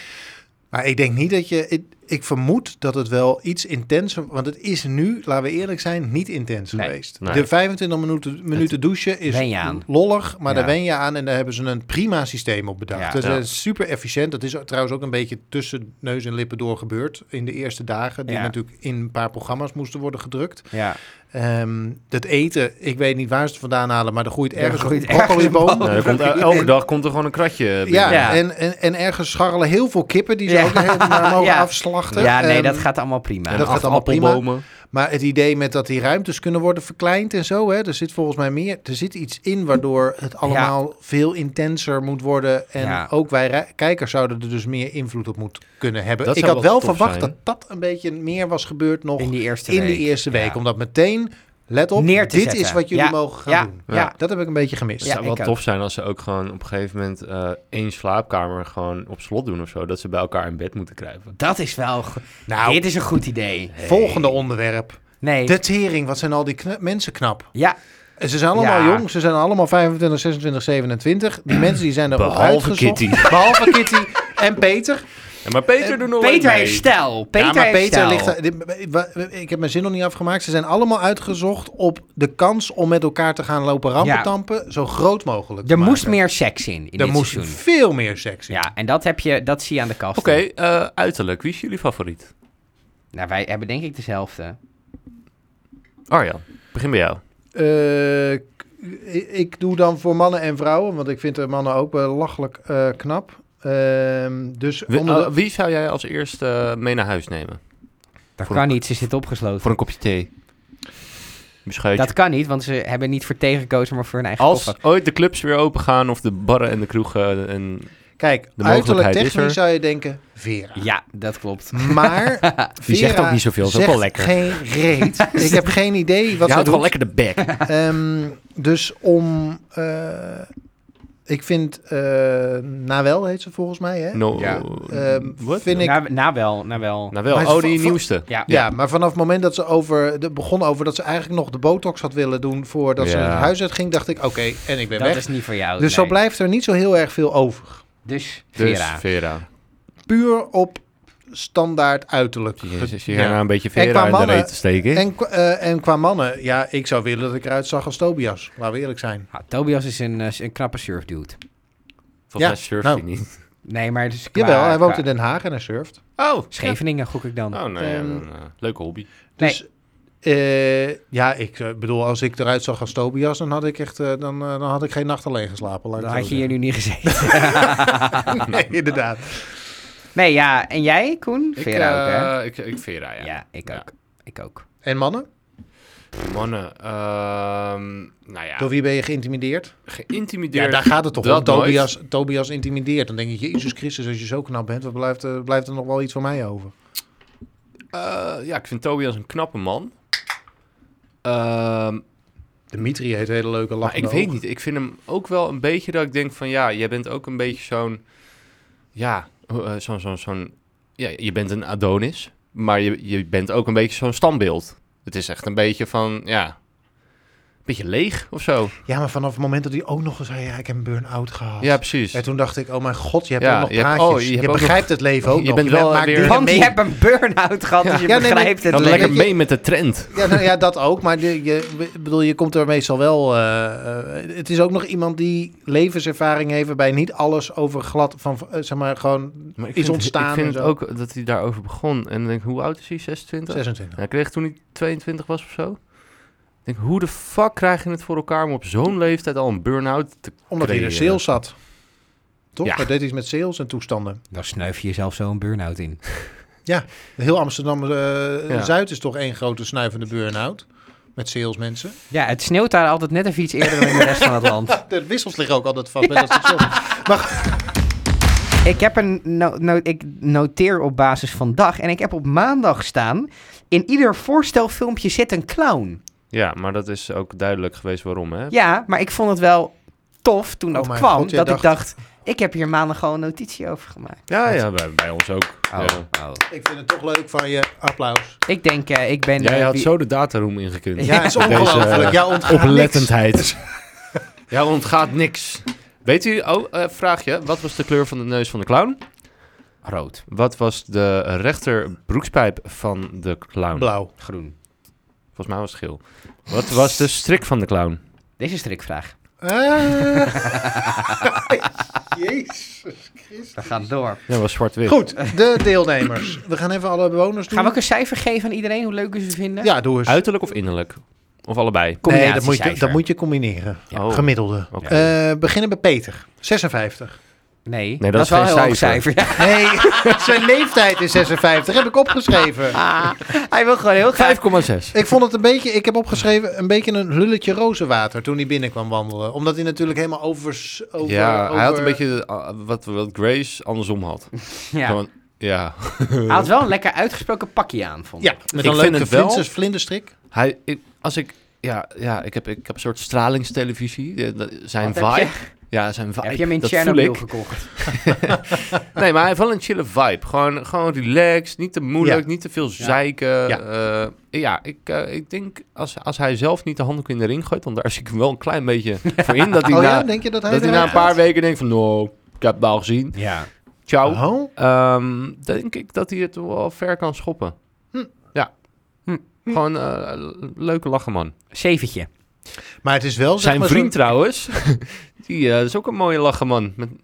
S3: Maar ik denk niet dat je. ik- ik vermoed dat het wel iets intenser... Want het is nu, laten we eerlijk zijn, niet intens
S1: Nee.
S3: geweest.
S2: Nee.
S3: De 25 minuten, minuten douchen is
S1: wen je aan.
S3: lollig, maar
S1: Ja.
S3: daar wen je aan. En daar hebben ze een prima systeem op bedacht.
S1: Ja.
S3: dat
S2: Ja.
S3: is super efficiënt. Dat is trouwens ook een beetje tussen neus en lippen door gebeurd in de eerste dagen. Die
S1: Ja.
S3: natuurlijk in een paar programma's moesten worden gedrukt.
S1: Ja.
S3: Ehm, dat eten, ik weet niet waar ze het vandaan halen, maar er groeit
S1: Er
S3: ergens
S1: groeit
S3: een
S1: ergens een
S3: broccoliboom.
S1: boom.
S2: Nou, er komt, el- elke dag komt er gewoon een kratje binnen.
S3: Ja,
S1: Ja.
S3: En, en, en ergens scharrelen heel veel kippen die ze
S1: Ja.
S3: ook helemaal mogen
S1: Ja.
S3: afslachten.
S1: ja, nee,
S3: Ehm,
S1: dat gaat allemaal prima.
S2: En
S3: dat gaat
S2: acht
S3: allemaal prima.
S2: appelbomen.
S3: Maar het idee met dat die ruimtes kunnen worden verkleind en zo, hè, er zit volgens mij meer, er zit iets in waardoor het allemaal veel intenser moet worden. En
S1: Ja.
S3: ook wij rei- kijkers zouden er dus meer invloed op moeten kunnen hebben.
S2: Dat
S3: ik
S2: zou
S3: had
S2: wel
S3: wel
S2: tof
S3: verwacht
S2: zijn.
S3: dat dat een beetje meer was gebeurd nog
S1: in die eerste
S3: in
S1: week.
S3: de eerste week.
S1: Ja.
S3: Omdat meteen, let op,
S1: Neer te
S3: dit
S1: zetten.
S3: is wat jullie
S1: Ja.
S3: mogen gaan
S1: Ja,
S3: doen.
S1: ja.
S2: Ja.
S3: Dat heb ik een beetje gemist.
S2: Het
S1: Ja,
S2: zou
S1: ik
S2: wel
S1: ook.
S2: tof zijn als ze ook gewoon op een gegeven moment eh, één slaapkamer gewoon op slot doen of zo. Dat ze bij elkaar in bed moeten kruipen.
S1: Dat is wel... go-
S3: Nou,
S1: Dit is een goed idee.
S3: volgende onderwerp.
S1: Nee.
S3: De tering, wat zijn al die kna- mensen knap.
S1: Ja,
S3: En Ze zijn allemaal
S1: Ja.
S3: jong, ze zijn allemaal 25, 26, 27. Die mensen die zijn er ook
S2: Behalve
S3: uitgezocht.
S2: Kitty.
S3: Behalve Kitty en Peter.
S2: Ja, maar Peter doet nog
S1: Eh, Peter
S2: mee.
S1: heeft stijl. Peter
S3: ja, maar
S1: heeft
S3: Peter
S1: stijl.
S3: ligt... daar- dit- wa- Ik heb mijn zin nog niet afgemaakt. Ze zijn allemaal uitgezocht op de kans om met elkaar te gaan lopen rampentampen. Zo groot mogelijk te
S1: Er moest
S3: maken.
S1: meer seks in, in
S3: Er
S1: dit
S3: moest
S1: seizoen.
S3: veel meer seks in.
S1: Ja, en dat, heb je, dat zie je aan de kast.
S2: Oké, eh, uiterlijk. Wie is jullie favoriet?
S1: Nou, wij hebben denk ik dezelfde.
S2: Arjan, begin bij jou.
S3: Eh, k- ik- ik doe dan voor mannen en vrouwen, want ik vind de mannen ook belachelijk eh, knap. Ehm, dus
S2: Wie,
S3: onder de-
S2: eh, wie zou jij als eerste eh, mee naar huis nemen?
S1: Dat
S2: Voor
S1: kan
S2: een-
S1: niet, ze zit opgesloten.
S2: Voor een kopje thee. Beschuitje.
S1: Dat kan niet, want ze hebben niet voor thee gekozen, maar voor hun eigen
S2: Als
S1: koffer.
S2: ooit de clubs weer open gaan of de barren en de kroegen en...
S3: kijk,
S2: de
S3: uiterlijk
S2: mogelijkheid is
S3: technisch
S2: er.
S3: zou je denken Vera.
S1: Ja, dat klopt.
S3: Maar
S2: Die zegt
S3: Vera
S2: ook niet zoveel, is ook
S3: zegt
S2: wel lekker.
S3: geen reet. ik heb geen idee wat
S2: Je
S3: ze
S2: houdt
S3: doet.
S2: wel lekker de bek.
S3: Ehm, dus om... eh, ik vind... eh Nawel heet ze volgens mij, hè?
S2: No, mm,
S1: Ja.
S3: Ehm,
S2: Wat?
S3: vind ik-
S1: Na, na wel, na wel.
S2: Nou wel,
S3: Maar
S2: oh die
S3: van- van-
S2: nieuwste.
S1: ja.
S3: Ja, maar vanaf het moment dat ze over, de, begon over dat ze eigenlijk nog de botox had willen doen voordat ze
S2: Ja.
S3: het huis uit ging, dacht ik, oké, en ik ben
S1: dat
S3: weg.
S1: is niet voor jou.
S3: dus
S1: nee.
S3: zo blijft er niet zo heel erg veel over.
S1: Dus,
S2: Dus
S1: Vera.
S2: Vera.
S3: Puur op standaard uiterlijk.
S2: Jezus, je
S3: Ja.
S2: gaat nou een beetje
S3: En qua
S2: Vera in de
S3: mannen-
S2: reet te steken.
S3: En, qua- eh, en qua mannen, ja, ik zou willen dat ik eruit zag als Tobias. Laten we eerlijk zijn.
S1: Ah, Tobias is een, eh, een knappe surfdude.
S2: Volgens
S3: Ja,
S2: mij surft
S3: nou.
S2: hij niet.
S1: Nee, maar dus qua,
S3: Jawel, hij woont
S1: qua
S3: in Den Haag en hij surft.
S2: Oh,
S1: Scheveningen, gok ik dan.
S2: Oh, nou
S3: Ehm,
S2: ja, dan, eh, leuke hobby.
S3: Dus eh, ja, ik eh, bedoel, als ik eruit zag als Tobias, dan had ik echt, eh, dan, eh, dan had ik geen nacht alleen geslapen. laat ik
S1: dan
S3: het
S1: had je
S3: zo
S1: hier nu niet gezeten.
S3: zeggen. nee, inderdaad.
S1: nee, ja. En jij, Koen? Vera ook, hè?
S2: eh, ik, ik Vera, ja.
S1: Ja, ik
S2: Ja.
S1: ook. Ik ook.
S3: En mannen?
S2: Mannen, ehm, nou ja,
S3: Door wie ben je geïntimideerd? Ja,
S2: geïntimideerd.
S3: daar gaat het toch om.
S2: dat nooit.
S3: Tobias, Tobias intimideert. Dan denk ik, Jezus Christus, als je zo knap bent, wat blijft, eh, blijft er nog wel iets van mij over?
S2: Eh, ja, ik vind Tobias een knappe man. Ehm,
S3: Dimitri heeft hele leuke
S2: maar
S3: lachen.
S2: ik weet niet, ik vind hem ook wel een beetje dat ik denk van... Ja, jij bent ook een beetje zo'n... Ja, eh, zo'n... zo'n zo'n- ja, je bent een Adonis, maar je, je bent ook een beetje zo'n standbeeld. Het is echt een beetje van, ja... Een beetje leeg of zo.
S3: Ja, maar vanaf het moment dat hij ook nog eens zei, ja, ik heb een burn-out gehad.
S2: Ja, precies.
S3: En toen dacht ik, oh mijn god, je hebt
S2: Ja,
S3: ook nog
S2: je hebt-
S3: praatjes.
S2: oh, je
S3: je
S2: hebt ook
S3: begrijpt het leven ook
S2: je
S3: nog.
S2: bent wel eh,
S3: maakt
S2: weer-
S3: dingen
S1: Want
S3: mee.
S1: je hebt een burn-out gehad, dus je
S3: Ja, nee,
S1: begrijpt
S3: maar-
S1: het
S2: Gaat
S3: leuk.
S2: lekker
S3: Weet je-
S2: mee met de trend.
S3: Ja, nou ja, dat ook. Maar de- je, ik bedoel, je komt er meestal wel. eh, eh, het is ook nog iemand die levenservaring heeft, waarbij niet alles over glad van, eh, zeg maar, gewoon
S2: Maar ik
S3: is
S2: vind,
S3: ontstaan.
S2: Ik vind
S3: en
S2: het
S3: zo.
S2: ook dat hij daarover begon. En dan denk ik, hoe oud is hij? 26?
S3: 26.
S2: Hij kreeg toen hij 22 was of zo. Ik denk, hoe de fuck krijg je het voor elkaar om op zo'n leeftijd al een burn-out te...
S3: Omdat hij in de
S2: creëren?
S3: sales zat. Toch?
S2: Ja.
S3: Hij deed iets met sales en toestanden.
S1: Dan snuif je jezelf zo een burn-out in.
S3: Heel Amsterdam eh,
S2: Ja.
S3: Zuid is toch één grote snuivende burn-out. Met salesmensen.
S1: Ja, het sneeuwt daar altijd net even iets eerder dan in de rest van het land.
S3: De wissels liggen ook altijd vast bij dat soort sales.
S1: Ik, heb een no- no- ik noteer op basis van dag en ik heb op maandag staan... In ieder voorstelfilmpje zit een clown.
S2: Ja, maar dat is ook duidelijk geweest waarom, hè?
S1: Ja, maar ik vond het wel tof toen
S3: Oh
S1: dat
S3: mijn
S1: kwam.
S3: god, jij
S1: dat ik dacht, ik heb hier maandag gewoon een notitie over gemaakt.
S2: ja, ja, bij, bij ons ook. Ja.
S3: Ik vind het toch leuk van je applaus.
S1: Oh. Ik denk, eh, ik ben...
S2: Jij
S1: eh,
S2: had
S1: wie-
S2: zo de dataroom ingekund.
S3: Ja, het is
S2: Deze, eh,
S3: ongelooflijk. Ja, ontgaat niks.
S2: Oplettendheid. ja, ontgaat niks. Weet u, oh, eh, vraag je, wat was de kleur van de neus van de clown?
S1: Rood.
S2: Wat was de rechter broekspijp van de clown?
S3: Blauw.
S1: Groen.
S2: Volgens mij was het geel. Wat was de strik van de clown?
S1: Deze is een strikvraag.
S3: Eh. Jezus Christus.
S1: We gaan door.
S2: Ja, was zwart-wit.
S3: Goed, de deelnemers. We gaan even alle bewoners doen.
S1: Gaan we ook een cijfer geven aan iedereen, hoe leuk we ze vinden?
S3: Ja, doe eens.
S2: Uiterlijk of innerlijk? Of allebei?
S3: Nee, dat moet, je,
S1: Combinatiecijfer.
S3: dat moet je combineren.
S1: Ja.
S2: Oh.
S3: Gemiddelde.
S2: Oké.
S3: Eh, beginnen bij Peter. 56.
S1: Nee, dat, is
S2: dat is
S1: wel een
S2: geen
S1: heel hoog
S2: cijfer.
S1: cijfer. Ja,
S3: Nee, zijn leeftijd is 56. Heb ik opgeschreven.
S1: hij wil gewoon heel graag...
S2: 5,6.
S3: Ik vond het een beetje, ik heb opgeschreven, een beetje een lulletje rozenwater toen hij binnen kwam wandelen. Omdat hij natuurlijk helemaal over... over
S2: Ja, hij had
S3: over-
S2: een beetje eh, wat, wat Grace andersom had.
S1: Ja.
S2: Gewoon, ja.
S1: Hij had wel een lekker uitgesproken pakje aan, vond ik.
S3: Ja, met
S2: Ik
S3: een
S2: vind
S3: leuke
S2: het wel-
S3: vlinders, vlinderstrik.
S2: Hij, ik- als ik, ja, ja ik, heb, ik heb een soort stralingstelevisie. Ja, dat- Zijn
S1: Wat heb
S2: vibe.
S1: je?
S2: Ja, zijn vibe.
S1: Heb je hem in
S2: dat voel
S1: Chernobyl
S2: ik.
S1: gekocht?
S2: Nee, maar hij heeft wel een chille vibe. Gewoon, gewoon relaxed, niet te moeilijk,
S3: Ja.
S2: niet te veel zeiken.
S3: Ja.
S2: Ja, ja ik, eh, ik denk als, als hij zelf niet de handdoek in de ring gooit, dan daar zie ik hem wel een klein beetje voor in. Dat hij,
S3: oh
S2: na,
S3: ja, denk je dat hij
S2: dat hij na
S3: eruit
S2: een paar
S3: gaat?
S2: weken denkt van, nou, ik heb het al gezien.
S1: Ja.
S2: Ciao.
S3: Oh,
S2: Ehm, denk ik dat hij het wel ver kan schoppen.
S3: Hm.
S2: Ja.
S1: Hm.
S2: Gewoon eh, l- leuke lachen, man.
S1: Zeventje.
S3: Maar het is wel, zeg
S2: Zijn
S3: maar,
S2: vriend
S3: zo'n-
S2: trouwens, die eh, is ook een mooie lacheman. Met, Heb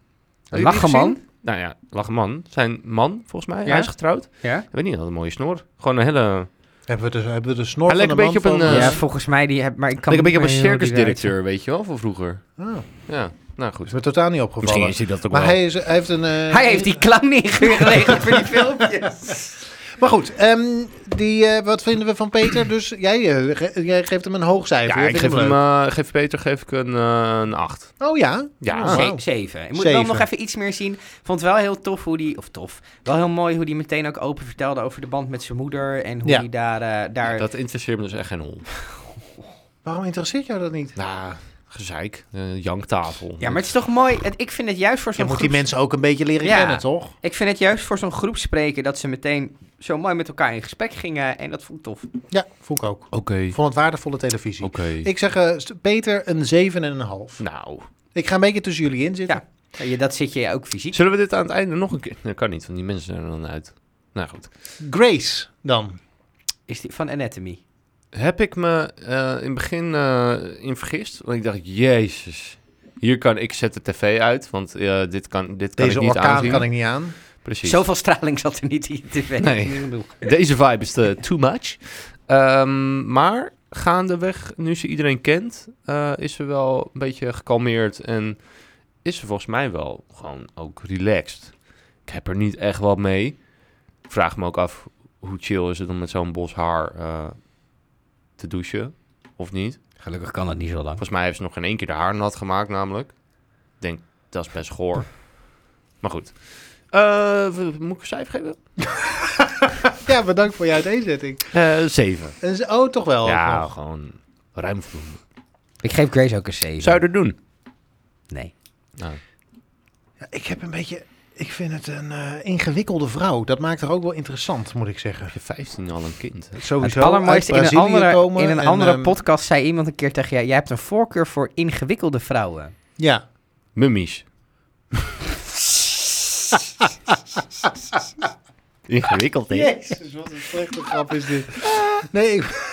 S2: je die
S1: Lacheman?
S2: gezien? Nou ja, lacheman. Zijn man, volgens mij.
S1: Ja.
S2: Hij is getrouwd.
S1: Ja?
S2: Ik weet niet, hij had een mooie snor. Gewoon een hele...
S3: Hebben we de, hebben we de snor
S2: Hij
S3: van
S2: lijkt
S3: de
S2: een beetje
S3: man
S2: op een,
S3: van-
S2: eh,
S1: ja, volgens mij die heb... Maar ik kan
S2: Lijkt een beetje
S1: niet
S2: op een
S1: meer heel die
S2: circusdirecteur, weet je wel, van vroeger.
S3: Ah,
S2: Ja, nou goed.
S3: is me totaal niet opgevallen.
S2: eh, Misschien is hij dat ook
S3: maar
S2: wel.
S3: hij, is, hij heeft een... eh,
S1: eruit ziet. Hij heeft die clown ingeregeld voor die filmpjes.
S3: Maar goed, ehm, die, eh, wat vinden we van Peter? Dus jij, eh, ge- jij geeft hem een hoog cijfer.
S2: Ja,
S3: Jij
S2: ik
S3: vindt
S2: geef hem... eh, geef Peter geef ik een, eh, een 8.
S3: Oh ja?
S2: Ja.
S3: Oh, wauw.
S1: Ze- Zeven. Ik moet
S3: Zeven.
S1: wel nog even iets meer zien. Vond het wel heel tof hoe die... Of tof. Wel heel mooi hoe die meteen ook open vertelde over de band met zijn moeder. En hoe
S3: Ja.
S1: die daar... eh, daar...
S2: Dat interesseert me dus echt geen hol.
S3: Waarom interesseert jou dat niet?
S2: Nou, gezeik. Eh, janktafel.
S1: Ja, maar het is toch mooi. Het, ik vind het juist voor
S3: Je
S1: zo'n
S3: moet
S1: groep...
S3: die mensen ook een beetje leren
S1: Ja.
S3: kennen, toch?
S1: Ik vind het juist voor zo'n groep spreken dat ze meteen zo mooi met elkaar in gesprek gingen. En dat vond ik tof.
S3: Ja, vond ik ook.
S2: Oké.
S3: Ik vond het waardevolle televisie.
S2: Oké.
S3: Ik zeg eh, st- Peter een 7,5.
S2: Nou.
S3: Ik ga een beetje tussen jullie in zitten.
S1: Ja. Je, dat zit je ook fysiek.
S2: Zullen we dit aan het einde nog een keer... Dat kan niet, want die mensen zijn er dan uit. Nou goed.
S3: Grace dan.
S1: Is die van Anatomy.
S2: Heb ik me eh, in het begin eh, in vergist? Want ik dacht, jezus. Hier kan ik zet de tv uit, want eh, dit kan, dit kan
S3: Deze
S2: ik niet
S3: orkaan
S2: aanzien.
S3: kan ik niet aan.
S2: Precies.
S1: Zoveel straling zat er niet in tv.
S2: Nee.
S1: Niet genoeg.
S2: Deze vibe is te too much. Ehm, maar gaandeweg, nu ze iedereen kent, eh, is ze wel een beetje gekalmeerd. En is ze volgens mij wel gewoon ook relaxed. Ik heb er niet echt wat mee. Ik vraag me ook af, hoe chill is het om met zo'n bos haar eh, te douchen? Of niet?
S1: Gelukkig kan het niet zo lang.
S2: Volgens mij heeft ze nog geen één keer de haar nat gemaakt, namelijk. Ik denk, dat is best goor. Maar goed. Eh, w- moet ik een cijfer geven?
S3: Ja, bedankt voor je uiteenzetting.
S2: Eh zeven.
S3: En ze- oh, toch wel.
S2: ja,
S3: Nog.
S2: gewoon ruim voldoende.
S1: Ik geef Grace ook een 7.
S2: Zou je dat doen?
S1: Nee.
S3: Ja, Ik heb een beetje... Ik vind het een eh, ingewikkelde vrouw. Dat maakt haar ook wel interessant, moet ik zeggen.
S2: Heb je 15 al een kind? hè?
S3: Sowieso.
S1: het allermooiste,
S3: uit
S1: in een
S3: Brazilië
S1: andere,
S3: komen
S1: in een
S3: en,
S1: andere
S3: ehm,
S1: podcast zei iemand een keer tegen jou... Jij hebt een voorkeur voor ingewikkelde vrouwen.
S3: Ja.
S2: Mummies. Ingewikkeld, hè?
S3: Jezus, wat een slechte grap is dit. Nee, ik...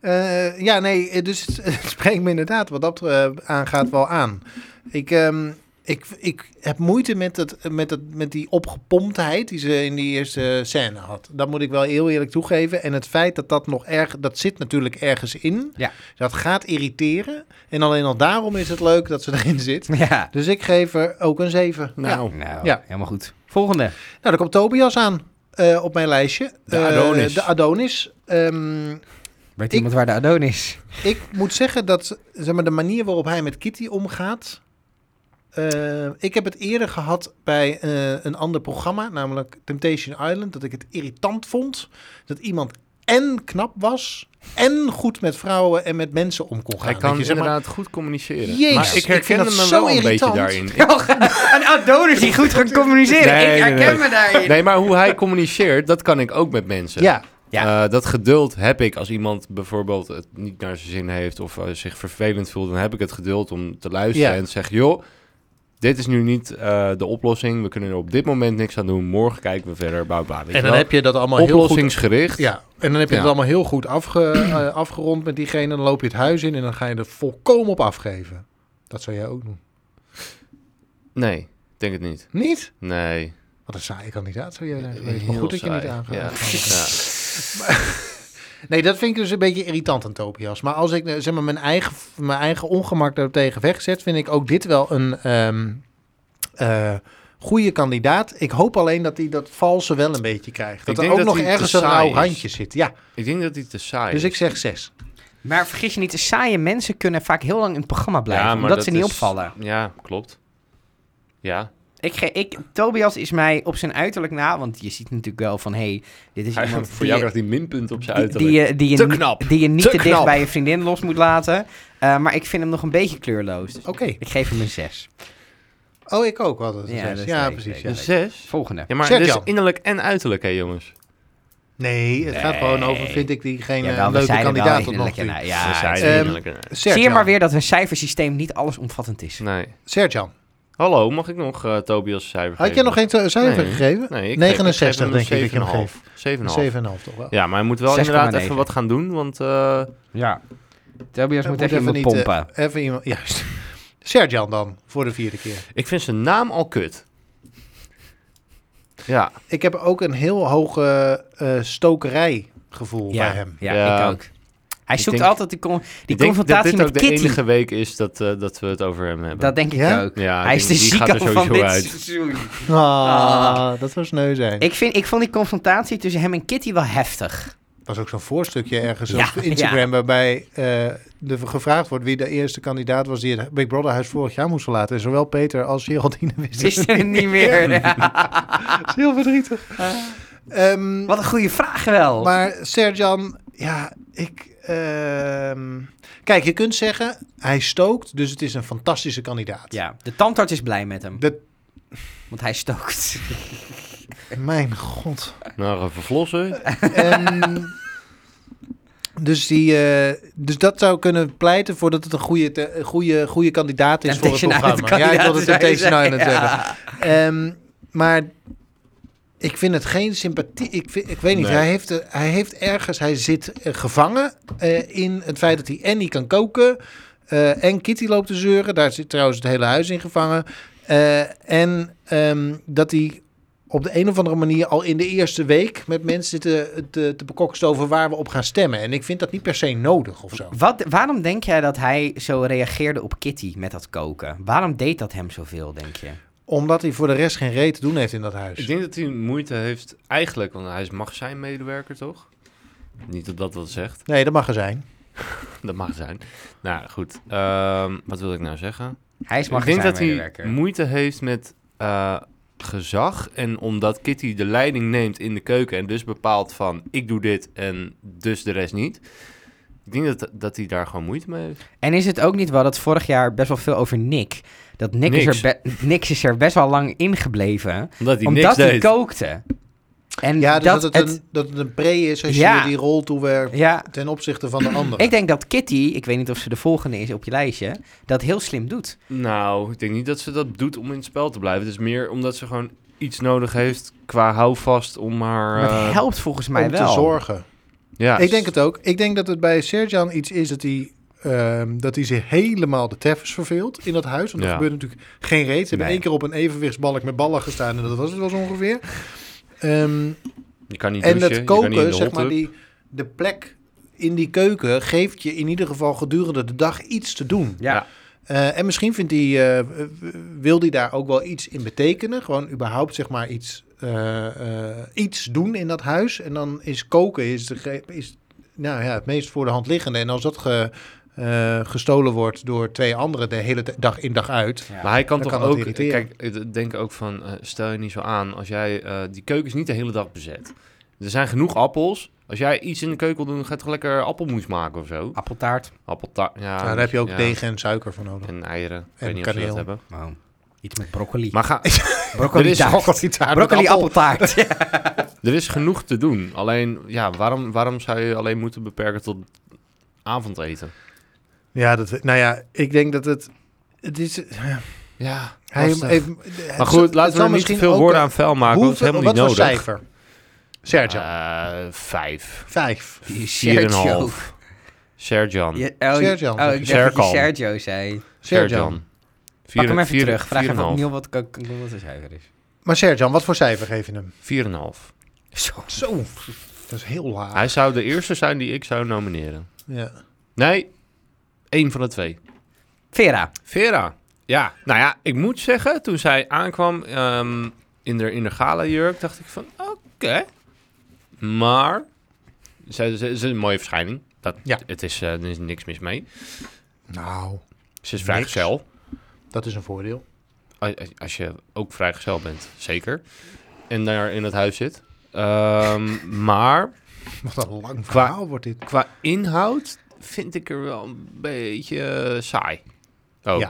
S3: Eh, ja, nee, eh, dus het, het spreekt me inderdaad wat dat eh, aangaat wel aan. Ik, ehm, ik, ik heb moeite met, het, met, het, met die opgepomptheid die ze in die eerste scène had. Dat moet ik wel heel eerlijk toegeven. En het feit dat dat nog erg, dat zit natuurlijk ergens in.
S1: Ja.
S3: Dat gaat irriteren. En alleen al daarom is het leuk dat ze erin zit.
S1: Ja.
S3: Dus ik geef er ook een 7.
S2: Nou,
S1: Nou,
S3: Ja.
S1: helemaal goed. Volgende.
S3: Nou, dan komt Tobias aan eh, op mijn lijstje.
S2: De
S3: Eh,
S2: Adonis.
S3: de Adonis. Ehm,
S1: Weet
S3: Ik-
S1: iemand waar de Adonis?
S3: ik moet zeggen dat zeg maar, de manier waarop hij met Kitty omgaat. eh, ik heb het eerder gehad bij eh, een ander programma, namelijk Temptation Island, dat ik het irritant vond dat iemand en knap was en goed met vrouwen en met mensen om kon gaan.
S2: hij kan
S3: Dat je, zeg maar,
S2: inderdaad goed communiceren.
S3: Jezus,
S2: maar ik
S3: ik vind
S2: herken
S3: dat
S2: hem
S3: zo
S2: wel een beetje
S3: irritant.
S2: daarin.
S1: een Adonis die goed kan communiceren.
S2: Nee,
S1: ik
S2: nee,
S1: herken
S2: nee.
S1: me daarin.
S2: Nee, maar hoe hij communiceert, dat kan ik ook met mensen.
S3: ja,
S1: Ja.
S2: Eh, dat geduld heb ik als iemand bijvoorbeeld het niet naar zijn zin heeft of eh, zich vervelend voelt, dan heb ik het geduld om te luisteren
S3: Ja.
S2: en te zeggen, joh, dit is nu niet eh, de oplossing. We kunnen er op dit moment niks aan doen. Morgen kijken we verder. Bla, bla, weet
S3: En
S2: je
S3: dan
S2: wel.
S3: heb je dat allemaal heel goed
S2: Oplossingsgericht.
S3: Ja, en dan heb je
S2: Ja.
S3: het allemaal heel goed afge, eh, afgerond met diegene. Dan loop je het huis in en dan ga je er volkomen op afgeven. Dat zou jij ook doen.
S2: Nee, ik denk het niet.
S3: Niet?
S2: Nee.
S3: Wat een saaie kandidaat zou jij zijn geweest.
S2: Heel
S3: Maar goed dat je
S2: saai.
S3: niet aangaat.
S2: Ja.
S3: Nee, dat vind ik dus een beetje irritant aan Tobias. Maar als ik eh, zeg maar, mijn, eigen, mijn eigen ongemak daartegen wegzet, vind ik ook dit wel een ehm, eh, goede kandidaat. Ik hoop alleen dat hij dat valse wel een beetje krijgt. Dat er
S2: denk
S3: ook
S2: dat
S3: nog
S2: hij te
S3: ergens een
S2: saai
S3: rauw
S2: is.
S3: randje zit. Ja,
S2: Ik denk dat hij te saai
S3: dus
S2: is.
S3: ik zeg zes.
S1: Maar vergis je niet, de saaie mensen kunnen vaak heel lang in het programma blijven,
S2: maar
S1: omdat ze
S2: dat
S1: niet
S2: is-
S1: opvallen.
S2: Ja, klopt. Ja.
S1: Ik ge ik, Tobias is mij op zijn uiterlijk na, want je ziet natuurlijk wel van, hé, hey, dit is
S2: Hij-
S1: iemand
S2: voor
S1: die
S2: jou
S1: je-
S2: krijgt hij minpunt op zijn
S1: die,
S2: uiterlijk.
S1: die je, die, je,
S2: Te
S1: niet-
S2: knap.
S1: die je niet
S2: Te
S1: te, dicht
S2: knap.
S1: bij je vriendin los moet laten. Eh, maar ik vind hem nog een beetje kleurloos. Dus
S3: Oké.
S1: ik geef hem een 6.
S3: Oh, ik ook altijd een
S1: Ja,
S3: zes.
S1: dat
S3: Ja,
S1: weet ik
S3: precies.
S1: zeker.
S3: Ja.
S2: Een zes?
S1: Volgende.
S2: Ja, maar
S3: Zeg,
S2: dit is
S3: Jan.
S2: innerlijk en uiterlijk, hè jongens.
S3: Nee, het gaat gewoon over, vind ik diegene
S1: Jawel,
S3: een leuke
S1: zijn er
S3: kandidaat
S1: wel
S3: tot nog
S1: innerlijk
S3: toe.
S1: en- ja,
S2: We zijn
S1: het-
S3: Ehm,
S2: innerlijk en uiterlijk.
S1: Zie
S3: Serjan.
S1: je maar weer dat een cijfersysteem niet allesomvattend is.
S2: Nee.
S3: Serjan,
S2: Hallo, mag ik nog eh, Tobias een cijfer
S3: had jij nog geen cijfer
S2: Nee.
S3: gegeven?
S2: Nee, ik
S3: 69
S2: geef-
S3: denk
S2: ik
S3: ik dat
S2: geef
S3: je hem
S2: hem 7,5.
S3: 7,5 toch wel?
S2: Ja, maar hij moet wel
S1: 6,9.
S2: inderdaad even wat gaan doen, want... eh,
S1: Ja. Tobias
S3: Dat
S1: moet even iemand
S3: niet,
S1: pompen.
S3: eh, even iemand, juist. Serjan dan, voor de vierde keer.
S2: Ik vind zijn naam al kut. Ja,
S3: Ik heb ook een heel hoog eh, eh, stokerijgevoel
S1: ja,
S3: bij hem.
S1: ja,
S2: Ja.
S1: ik ook. Hij
S2: Ik
S1: zoekt
S2: denk-
S1: altijd die, con- die
S2: ik denk dat
S1: confrontatie
S2: dit ook
S1: met
S2: de
S1: Kitty.
S2: enige week is dat, eh, dat we het over hem hebben.
S1: Dat denk ik
S3: Ja?
S1: ook.
S2: ja, ik
S1: Hij is de
S2: denk, die gaat
S1: zieke
S2: er
S1: van
S2: sowieso
S1: dit
S2: uit.
S1: seizoen.
S3: Ah,
S1: Ah.
S3: dat was sneu zijn.
S1: Ik, vind, ik vond die confrontatie tussen hem en Kitty wel heftig.
S3: was ook zo'n voorstukje ergens
S1: Ja,
S3: op Instagram... waarbij eh, de, gevraagd wordt wie de eerste kandidaat was... die het Big Brother huis vorig jaar moest verlaten. En zowel Peter als Geraldine wisten
S1: Is er niet meer.
S3: Dat is heel verdrietig.
S1: Ah.
S3: Ehm,
S1: Wat een goede vraag wel.
S3: Maar Serjan, ja, ik. ehm, Kijk, je kunt zeggen, hij stookt, dus het is een fantastische kandidaat.
S1: Ja, de tandarts is blij met hem,
S3: Dat,
S1: want hij stookt.
S3: mijn god.
S2: Nou, even verlossen.
S3: Ehm, dus, die, eh, dus dat zou kunnen pleiten voordat het een goede, te- een goede, goede kandidaat is voor het
S1: Temptation Island
S3: programma. Ja, ik wilde
S1: kandidaat, zou je
S3: Temptation Island
S1: zeggen.
S3: zeggen. Ehm, maar ik vind het geen sympathie. Ik, vind, ik weet niet,
S2: Nee.
S3: hij, heeft, eh, hij heeft ergens, hij zit eh, gevangen eh, in het feit dat hij en niet kan koken. eh, en Kitty loopt te zeuren. Daar zit trouwens het hele huis in gevangen. eh, en ehm, dat hij op de een of andere manier al in de eerste week met mensen zitten te, te bekokst over waar we op gaan stemmen. En ik vind dat niet per se nodig of zo.
S1: Wat, waarom denk jij dat hij zo reageerde op Kitty met dat koken? Waarom deed dat hem zoveel, denk je?
S3: Omdat hij voor de rest geen reet te doen heeft in dat huis.
S2: Ik denk dat hij moeite heeft eigenlijk, want hij is- mag zijn medewerker, toch? Niet dat dat wat zegt.
S3: Nee, dat mag er zijn.
S2: Dat mag zijn. Nou, goed. Ehm, wat wil ik nou zeggen?
S1: Hij is
S2: ik denk dat hij
S1: magazijnmedewerker.
S2: moeite heeft met eh, gezag. En omdat Kitty de leiding neemt in de keuken en dus bepaalt van ik doe dit en dus de rest niet. Ik denk dat, dat hij daar gewoon moeite mee heeft.
S1: En is het ook niet wel dat vorig jaar best wel veel over Nick... Dat Nick, Is,
S2: Niks.
S1: er be- Niks is er best wel lang ingebleven,
S2: Omdat hij
S1: omdat
S2: niks
S1: hij
S2: deed.
S1: kookte. En
S3: Ja, dus dat,
S1: dat,
S3: het,
S1: het-
S3: een, dat het een pre is als
S1: Ja.
S3: je die rol toewerkt
S1: ja,
S3: ten opzichte van de ander.
S1: ik denk dat Kitty, ik weet niet of ze de volgende is op je lijstje, dat heel slim doet.
S2: Nou, ik denk niet dat ze dat doet om in het spel te blijven. Het is meer omdat ze gewoon iets nodig heeft qua houvast om haar...
S1: Maar
S2: eh,
S1: dat helpt volgens mij
S3: om
S1: wel.
S3: te zorgen.
S2: Ja,
S3: Ik denk het ook. Ik denk dat het bij Serjan iets is dat hij, ehm, dat hij zich helemaal de teffers verveelt in dat huis. Want er
S2: Ja.
S3: gebeurt natuurlijk geen reet. Ze hebben
S1: Nee.
S3: één keer op een evenwichtsbalk met ballen gestaan en dat was het wel zo ongeveer. Ehm,
S2: Je kan niet
S3: en
S2: douchen,
S3: dat
S2: je kan niet in
S3: koken,
S2: de
S3: zeg
S2: hot
S3: maar,
S2: tub.
S3: die, de plek in die keuken geeft je in ieder geval gedurende de dag iets te doen.
S1: Ja.
S2: Ja.
S3: Eh, en misschien vindt hij, eh, wil hij daar ook wel iets in betekenen. Gewoon überhaupt zeg maar iets, eh, eh, iets doen in dat huis. En dan is koken is de, ge- is, nou ja, het meest voor de hand liggende. En als dat ge- eh, gestolen wordt door twee anderen de hele t- dag in dag uit.
S1: Ja.
S2: Maar hij kan
S3: Dat
S2: toch
S3: kan dat
S2: ook...
S3: irriteren.
S2: Kijk, ik denk ook van, eh, stel je niet zo aan als jij... eh, die keuken is niet de hele dag bezet. Er zijn genoeg appels. Als jij iets in de keuken wil doen, ga je toch lekker appelmoes maken of zo?
S1: Appeltaart.
S2: Appeltaart, ja.
S3: Nou, daar heb je ook
S2: ja.
S3: deeg en suiker voor nodig.
S2: En eieren. Ik
S3: En
S2: weet niet of ze dat
S3: kaneel.
S2: hebben.
S1: Wow. Iets met broccoli.
S2: Maar ga,
S1: broccoli
S2: er is
S1: taart.
S3: taart met
S1: Broccoli
S3: appel.
S1: appeltaart. Ja.
S2: Er is genoeg te doen. Alleen, ja, waarom, waarom zou je alleen moeten beperken tot avondeten?
S3: Ja, dat, nou ja, ik denk dat het... het is,
S2: Ja,
S3: Hij
S2: lastig.
S3: heeft-
S2: maar
S3: het zal-
S2: goed,
S3: het
S2: laten we
S3: zal
S2: er niet te
S3: misschien
S2: veel
S3: ook-
S2: woorden aan vuil maken. want
S3: Hoeveel-
S2: dat is helemaal
S3: wat
S2: niet
S3: was
S2: nodig.
S3: cijfer? Sergio.
S2: Eh, vijf.
S3: Vijf.
S1: Sergio.
S2: 4,5. Serjan.
S1: Je- oh, je- Oh,
S3: Sergio.
S1: ik dacht dat
S2: Serkan.
S1: je Sergio zei.
S3: Sergio.
S1: Pak hem even
S2: vier-
S1: terug. Vraag
S2: vier en
S1: even
S2: half.
S1: opnieuw wat, wat, wat de cijfer is.
S3: Maar Sergio, wat voor cijfer geef je hem?
S2: Vier en een half.
S1: Zo.
S3: Zo, dat is heel laag.
S2: Hij zou de eerste zijn die ik zou nomineren.
S3: Ja.
S2: Nee, één van de twee.
S1: Vera.
S2: Vera. Ja, nou ja, ik moet zeggen, toen zij aankwam ehm, in de, in de gala-jurk, dacht ik van, oké. Maar, ze, ze, ze is een mooie verschijning. Dat,
S3: Ja.
S2: het is, eh, er is niks mis mee.
S3: Nou,
S2: Ze is vrijgezel.
S3: dat is een voordeel.
S2: Als, als- als je ook vrijgezel bent, zeker. En daar in het huis zit. Ehm, maar,
S3: Wat een lang verhaal wordt dit.
S2: qua inhoud vind ik er wel een beetje eh, saai. Ook.
S3: Ja.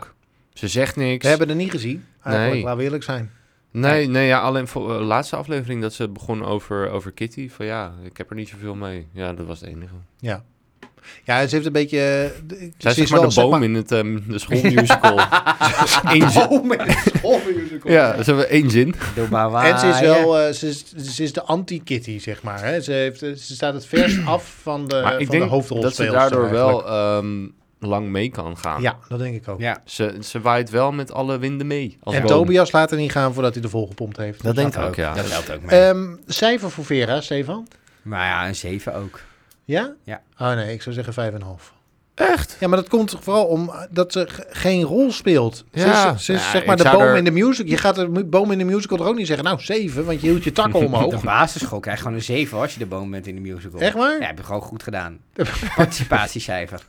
S2: Ze zegt niks.
S3: We hebben er niet gezien, eigenlijk,
S2: Nee.
S3: laten we eerlijk zijn.
S2: Nee, nee ja, alleen voor de laatste aflevering dat ze begon over, over Kitty. Van ja, ik heb er niet zoveel mee. Ja, dat was het enige.
S3: Ja. Ja, ze heeft een beetje... eh, de- ze
S2: Zij is zeg
S3: is
S2: maar
S3: wel,
S2: de
S3: zeg
S2: boom
S3: maar-
S2: in het, ehm, de schoolmusical. Eén zin.
S1: Oh,
S3: boom in de schoolmusical.
S2: Ja, ze hebben één zin.
S3: Eh,
S1: Doe maar
S3: En ze is
S1: waaien.
S3: wel, eh, ze, is, ze is de anti-kitty, zeg maar. Hè? Ze, heeft, eh, ze staat het vers af van de,
S2: maar
S3: van
S2: ik denk
S3: de hoofdrol.
S2: dat ze daardoor wel ehm, lang mee kan gaan.
S3: Ja, dat denk ik ook.
S1: Ja.
S2: Ze, ze waait wel met alle winden mee. Als
S3: En
S2: boom.
S3: Tobias laat er niet gaan voordat hij de volgepompt heeft.
S2: Dat denk ik
S1: Dat
S2: ook, ja.
S1: Dat helpt ook mee.
S3: Ehm, cijfer voor Vera, Stefan?
S1: maar ja, een 7 ook.
S3: Ja?
S1: Ja.
S3: Oh nee, ik zou zeggen 5,5. Echt? Ja, maar dat komt toch vooral om eh, dat ze g- geen rol speelt. Ze
S2: Ja.
S3: is, ze is
S2: Ja,
S3: zeg
S2: ik
S3: maar de
S2: zou
S3: boom
S2: er-
S3: in de musical. Je gaat de mu- boom in de musical er ook niet zeggen, nou 7, want je hield je takken
S1: De
S3: omhoog.
S1: basisschool krijg je gewoon een 7 als je de boom bent in de musical.
S3: Echt waar?
S1: Ja, heb je gewoon goed gedaan. Participatiecijfer.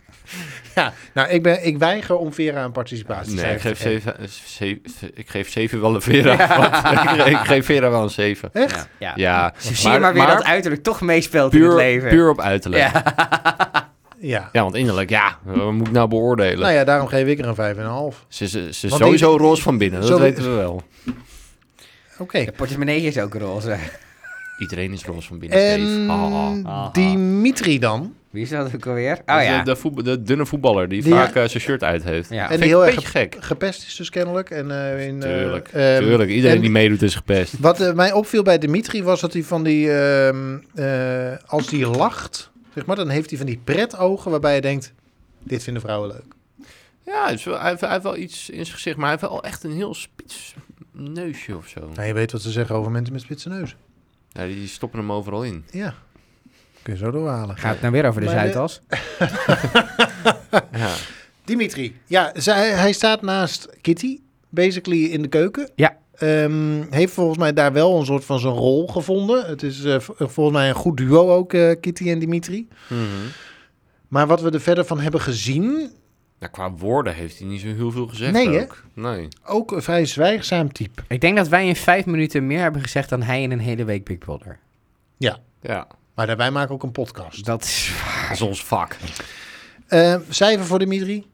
S3: Ja. Nou, ik, ben, ik weiger om Vera een participatie
S2: Nee, ik geef,
S3: te geven.
S2: zeven, eh, zeven- ik geef zeven wel een Vera. Want ik, ik geef Vera wel een zeven.
S3: Echt?
S1: Ja. ja.
S2: Ja.
S1: Zo zie je maar weer dat uiterlijk toch meespeelt in het
S2: puur,
S1: leven.
S2: puur op uiterlijk. Ja.
S1: ja.
S3: Ja.
S2: want innerlijk, ja, wat moet ik nou beoordelen?
S3: Nou ja, daarom geef ik er een 5,5.
S2: Ze, ze, ze is
S3: Want
S2: sowieso
S3: deze-
S2: roze van binnen, dat
S3: zo-
S2: weten we wel.
S3: Oké.
S1: De portemonnee is ook roze.
S2: Iedereen is roze van binnen, Steve. Haha.
S3: En
S1: Haha.
S3: Dimitri dan?
S1: Wie is dat ook alweer? Oh
S2: Dat is,
S1: ja.
S2: eh, de, voetbal- de dunne voetballer die
S3: Die-
S2: vaak eh, zijn shirt uit heeft.
S1: Ja.
S2: Vind
S3: die
S2: ik
S3: heel
S2: een
S3: erg
S2: beetje gek.
S3: Gepest is dus kennelijk. En, eh, in, eh,
S2: Tuurlijk,
S3: ehm,
S2: Tuurlijk, iedereen
S3: en-
S2: die meedoet is gepest.
S3: Wat eh, mij opviel bij Dimitri was dat hij van die... ehm, eh, als die lacht, zeg maar, dan heeft hij van die pretogen waarbij je denkt... Dit vinden vrouwen leuk.
S2: Ja, hij, is wel- hij heeft, hij heeft wel iets in zijn gezicht, maar hij heeft wel echt een heel spits neusje of zo.
S3: Nou, je weet wat ze zeggen over mensen met spitse neus.
S2: Ja, die stoppen hem overal in.
S3: Ja. Kun je zo doorhalen.
S1: Gaat het nou weer over de
S3: Maar de-
S1: Zuidas?
S2: Ja.
S3: Dimitri. Ja, zij, hij staat naast Kitty, basically in de keuken.
S1: Ja.
S3: Ehm, heeft volgens mij daar wel een soort van zijn rol gevonden. Het is eh, v- volgens mij een goed duo ook, eh, Kitty en Dimitri.
S2: Mhm.
S3: Maar wat we er verder van hebben gezien,
S2: Nou, qua woorden heeft hij niet zo heel veel gezegd
S3: Nee, hè?
S2: ook. Nee.
S3: ook een vrij zwijgzaam type.
S1: Ik denk dat wij in vijf minuten meer hebben gezegd dan hij in een hele week Big Brother. Dus
S2: Ja,
S3: Maar daar- wij maken ook een podcast.
S1: Dat is...
S2: dat is ons vak.
S3: Ehm, cijfer voor Dimitri?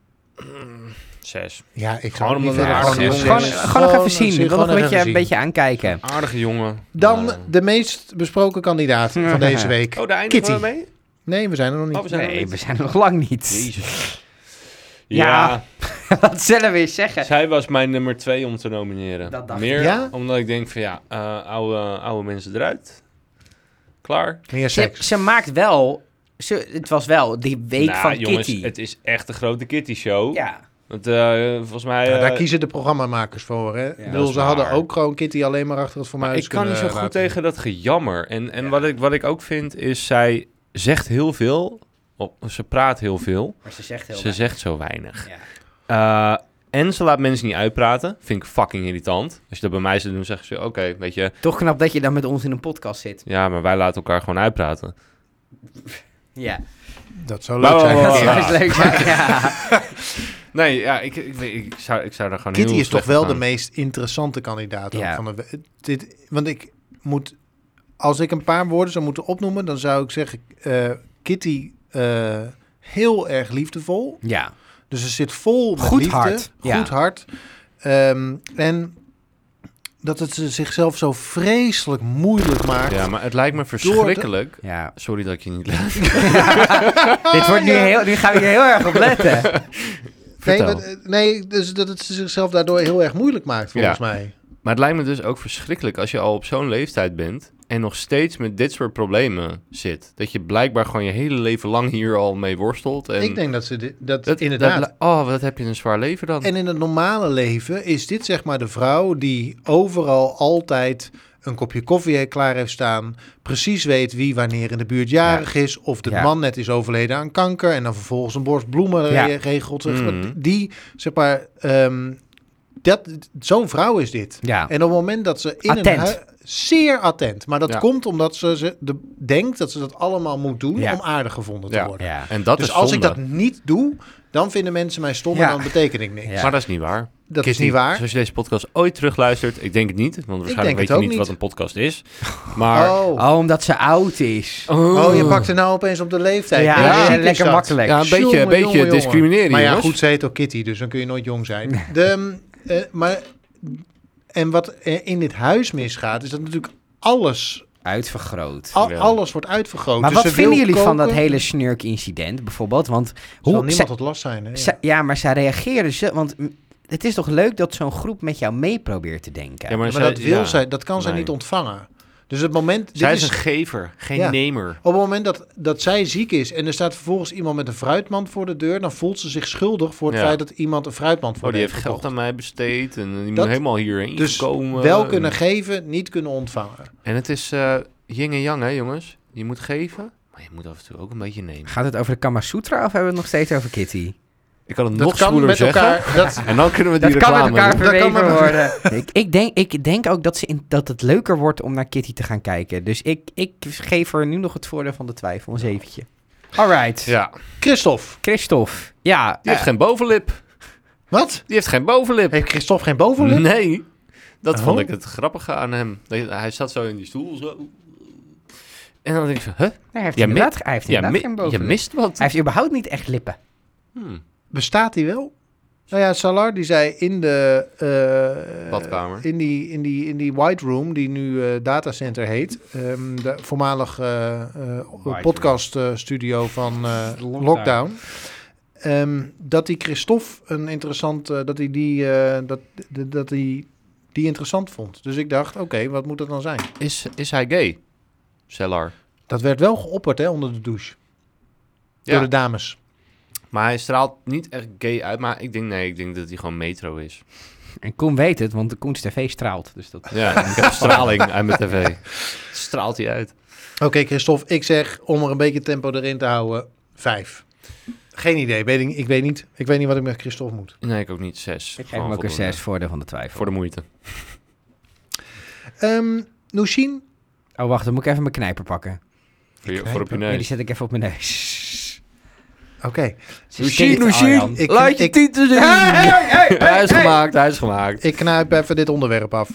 S2: Zes.
S3: Ja,
S2: Gewoon
S3: ik zou niet
S2: omdat we
S3: willen.
S2: er
S3: Gewoon
S2: gewoon-
S3: een
S1: Gewoon,
S3: zes.
S1: gewoon nog even zien.
S3: zes.
S1: Ik wil nog
S3: Gewoon
S1: een beetje, een
S3: even zien.
S1: beetje aankijken.
S2: Aardige jongen. Eh,
S3: Dan
S2: Maar,
S3: de meest besproken kandidaat van deze week.
S2: eh, Oh, daar
S3: Kitty.
S2: eindigen we mee?
S3: Nee, we zijn er nog
S2: Oh, we
S3: niet.
S2: zijn er nog
S1: Nee,
S2: niet.
S1: we zijn er nog lang niet.
S2: Jezus.
S1: Ja.
S2: Ja,
S1: Wat zullen we eens zeggen?
S2: zij was mijn nummer twee om te nomineren.
S1: Dat dacht
S2: Meer
S3: ik. Ja?
S2: omdat ik denk van ja, eh, oude, oude mensen eruit. Klaar.
S3: Meer
S1: Ze,
S3: seks.
S1: ze maakt wel... Ze, het was wel die week
S2: Nou,
S1: van
S2: jongens,
S1: Kitty.
S2: het is echt de grote Kitty show.
S1: Ja.
S2: Want eh, volgens mij...
S3: Ja, daar
S2: eh,
S3: kiezen de programmamakers voor. Hè? Ik bedoel,
S2: Dat is
S3: ze hadden
S2: waar.
S3: ook gewoon Kitty alleen maar achter het
S2: maar
S3: formuis
S2: ik kan niet
S3: kunnen
S2: zo goed
S3: laten.
S2: tegen dat gejammer. En, en wat, ik, wat ik ook vind is, zij zegt heel veel. Oh, ze praat heel veel.
S1: Maar ze zegt heel
S2: ze
S1: weinig.
S2: zegt zo weinig.
S1: Ja.
S2: Eh, en ze laat mensen niet uitpraten. Vind ik fucking irritant. Als je dat bij mij zou doen, zeggen ze... Oké, weet je...
S1: Toch knap dat je dan met ons in een podcast zit.
S2: Ja, maar wij laten elkaar gewoon uitpraten.
S1: Ja.
S3: Dat zou leuk zijn.
S2: Wow,
S1: Dat
S2: wow,
S1: zou
S2: wow.
S1: eens leuk zijn. Ja.
S2: Nee, ja, ik, ik, weet- ik zou, ik zou daar gewoon
S3: Kitty
S2: heel
S3: is toch
S2: slecht
S3: wel
S2: aan.
S3: de meest interessante kandidaat ook
S1: Ja.
S3: van de we- dit, Want ik moet, als ik een paar woorden zou moeten opnoemen, dan zou ik zeggen: eh, Kitty eh, heel erg liefdevol.
S1: ja.
S3: Dus ze zit vol met
S1: Goed
S3: liefde,
S1: hart,
S3: goed
S1: ja.
S3: hart. Ehm, en dat het ze zichzelf zo vreselijk moeilijk maakt.
S2: Ja, maar het lijkt me verschrikkelijk...
S1: Ja.
S2: Sorry dat ik je niet laat.
S1: Dit wordt nu heel... Nu gaan we hier heel erg op letten.
S3: Nee,
S2: Vertel.
S3: maar, eh, nee, dus dat het ze zichzelf daardoor heel erg moeilijk maakt, volgens mij.
S2: Maar het lijkt me dus ook verschrikkelijk als je al op zo'n leeftijd bent en nog steeds met dit soort problemen zit. Dat je blijkbaar gewoon je hele leven lang hier al mee worstelt. En
S3: ik denk dat ze dit, dat,
S2: dat-
S3: inderdaad.
S2: dat- oh, wat heb je een zwaar leven dan?
S3: en in het normale leven is dit zeg maar de vrouw die overal altijd een kopje koffie he- klaar heeft staan. Precies weet wie wanneer in de buurt jarig is. Of de
S1: Ja.
S3: man net is overleden aan kanker. En dan vervolgens een borst bloemen re-
S1: Ja. Mm.
S3: regelt. Zeg maar.
S2: Mhm.
S3: Die, zeg maar, ehm, dat, zo'n vrouw is dit.
S1: Ja.
S3: En op het moment dat ze in
S1: Attent.
S3: een hui- zeer attent. Maar dat
S2: Ja.
S3: komt omdat ze, ze de, denkt dat ze dat allemaal moet doen
S1: Ja.
S3: om aardig gevonden te
S2: Ja.
S3: worden.
S1: Ja.
S2: En dat
S3: dus
S2: is
S3: als ik
S2: zonde.
S3: dat niet doe, dan vinden mensen mij stom en
S1: Ja.
S3: dan beteken ik niks.
S1: Ja.
S2: Maar dat is niet waar.
S3: Dat is
S2: Kitty,
S3: niet waar.
S2: Dus als je deze podcast ooit terugluistert, ik denk het niet, want waarschijnlijk
S3: denk
S2: weet
S3: het
S2: je
S3: ook
S2: niet, wat
S3: niet.
S2: een podcast is. Maar
S3: Oh.
S1: Oh, omdat ze oud is.
S3: Oh, je pakt er nou opeens op de leeftijd.
S1: ja,
S3: Nee,
S2: ja,
S3: shit is
S1: lekker
S3: dat.
S1: makkelijk.
S2: Ja, een beetje,
S3: Jongen,
S2: een beetje
S3: jongen, jongen.
S2: discrimineren.
S3: Maar ja,
S2: jongens.
S3: goed, ze heet ook Kitty, dus dan kun je nooit jong zijn. De, ehm, eh, maar, en wat eh, in dit huis misgaat, is dat natuurlijk alles,
S1: Uitvergroot.
S3: al-
S2: Ja.
S3: alles wordt uitvergroot.
S1: Maar
S3: Dus
S1: wat
S3: ze wil
S1: vinden jullie van dat
S3: koken.
S1: hele snurk-incident bijvoorbeeld? Want
S3: Zal
S1: hoe,
S3: niemand
S1: ze-
S3: het last zijn, hè? Ja.
S1: ze- ja, maar zij reageren ze. Want mm, het is toch leuk dat zo'n groep met jou mee probeert te denken.
S2: Ja, maar
S3: Maar
S2: zij-
S3: dat, wil
S2: ja.
S3: zij, dat kan zij
S2: Nee.
S3: niet ontvangen. Dus het moment, dit
S2: Zij is
S3: is,
S2: een gever, geen
S3: Ja.
S2: nemer.
S3: op het moment dat, dat zij ziek is en er staat vervolgens iemand met een fruitmand voor de deur, dan voelt ze zich schuldig voor het
S2: Ja.
S3: feit dat iemand een fruitmand voor
S2: Oh,
S3: de
S2: die heeft
S3: heeft
S2: geld
S3: gekocht.
S2: aan mij besteed en eh, die
S3: Dat-
S2: moet helemaal hierheen
S3: Dus
S2: komen.
S3: Wel
S2: En-
S3: kunnen geven, niet kunnen ontvangen.
S2: En het is eh yin en yang, hè jongens. Je moet geven, maar je moet af en toe ook een beetje nemen.
S1: Gaat het over de Kama Sutra of hebben we het nog steeds over Kitty?
S2: Ik kan het
S3: Dat
S2: nog
S3: kan
S2: zwoeler
S3: met
S2: zeggen.
S3: elkaar. Dat,
S2: En dan kunnen we die
S1: dat kan met
S2: reclame
S1: elkaar
S2: doen.
S3: Dat kan
S1: verweven
S3: met-
S1: worden. ik, ik, denk, ik denk ook dat, ze in, dat het leuker wordt om naar Kitty te gaan kijken. Dus ik, ik geef er nu nog het voordeel van de twijfel. Een zeventje. Alright.
S2: Ja, die
S3: Christophe,
S1: Christophe. Ja, eh,
S2: heeft geen bovenlip.
S3: wat?
S2: Die heeft geen bovenlip.
S3: Heeft Christophe geen bovenlip?
S2: Nee. Dat
S3: Oh.
S2: vond ik het grappige aan hem. Dat- Hij zat zo in die stoel. Zo. En dan denk ik van, huh?
S1: eh, hij heeft
S2: Ja,
S1: inderdaad, hij heeft
S2: Ja,
S1: inderdaad
S2: mi-
S1: geen
S2: je
S1: bovenlip.
S2: mist wat.
S1: Hij heeft überhaupt niet echt lippen.
S2: Hmm.
S3: Bestaat die wel? Nou ja, Salar die zei in de... eh,
S2: Badkamer.
S3: In die, in, die, in die White Room, die nu eh, datacenter heet. ehm, de voormalig eh,
S1: Room.
S3: podcaststudio van eh,
S1: Lockdown.
S3: Lockdown. Ehm, dat die Christophe een interessant... eh, dat hij die, eh, dat, dat, dat die, die interessant vond. Dus ik dacht, oké, wat moet dat dan zijn?
S2: Is, is hij gay? Cellar.
S3: Dat werd wel geopperd hè, onder de douche. Door de dames.
S2: Maar hij straalt niet echt gay uit. Maar ik denk, nee, ik denk dat hij gewoon metro is.
S1: En Koen weet het, want de Koens TV straalt. Dus dat...
S2: Ja, ik heb straling uit mijn tv. Straalt hij uit.
S3: Oké, Christophe, ik zeg om er een beetje tempo erin te houden, vijf. Geen idee, weet ik, ik weet niet. Ik weet niet wat ik met Christophe moet.
S2: Nee, ik ook niet. Zes.
S1: Ik geef
S2: Gewoon
S1: hem ook een
S2: voldoende.
S1: zes, voordeel van de twijfel.
S2: Voor de moeite.
S3: Ehm Noushin?
S1: Oh, wacht, dan moet ik even mijn knijper pakken.
S2: Voor, je,
S3: knijp
S2: voor op je
S1: Ja, die
S2: neus.
S1: zet ik even op mijn neus.
S3: Oké.
S1: Ze steekt Arjan.
S3: Ik, ik, ik,
S2: tieten zien. Hij is gemaakt, hij is gemaakt.
S3: knijp even dit onderwerp af.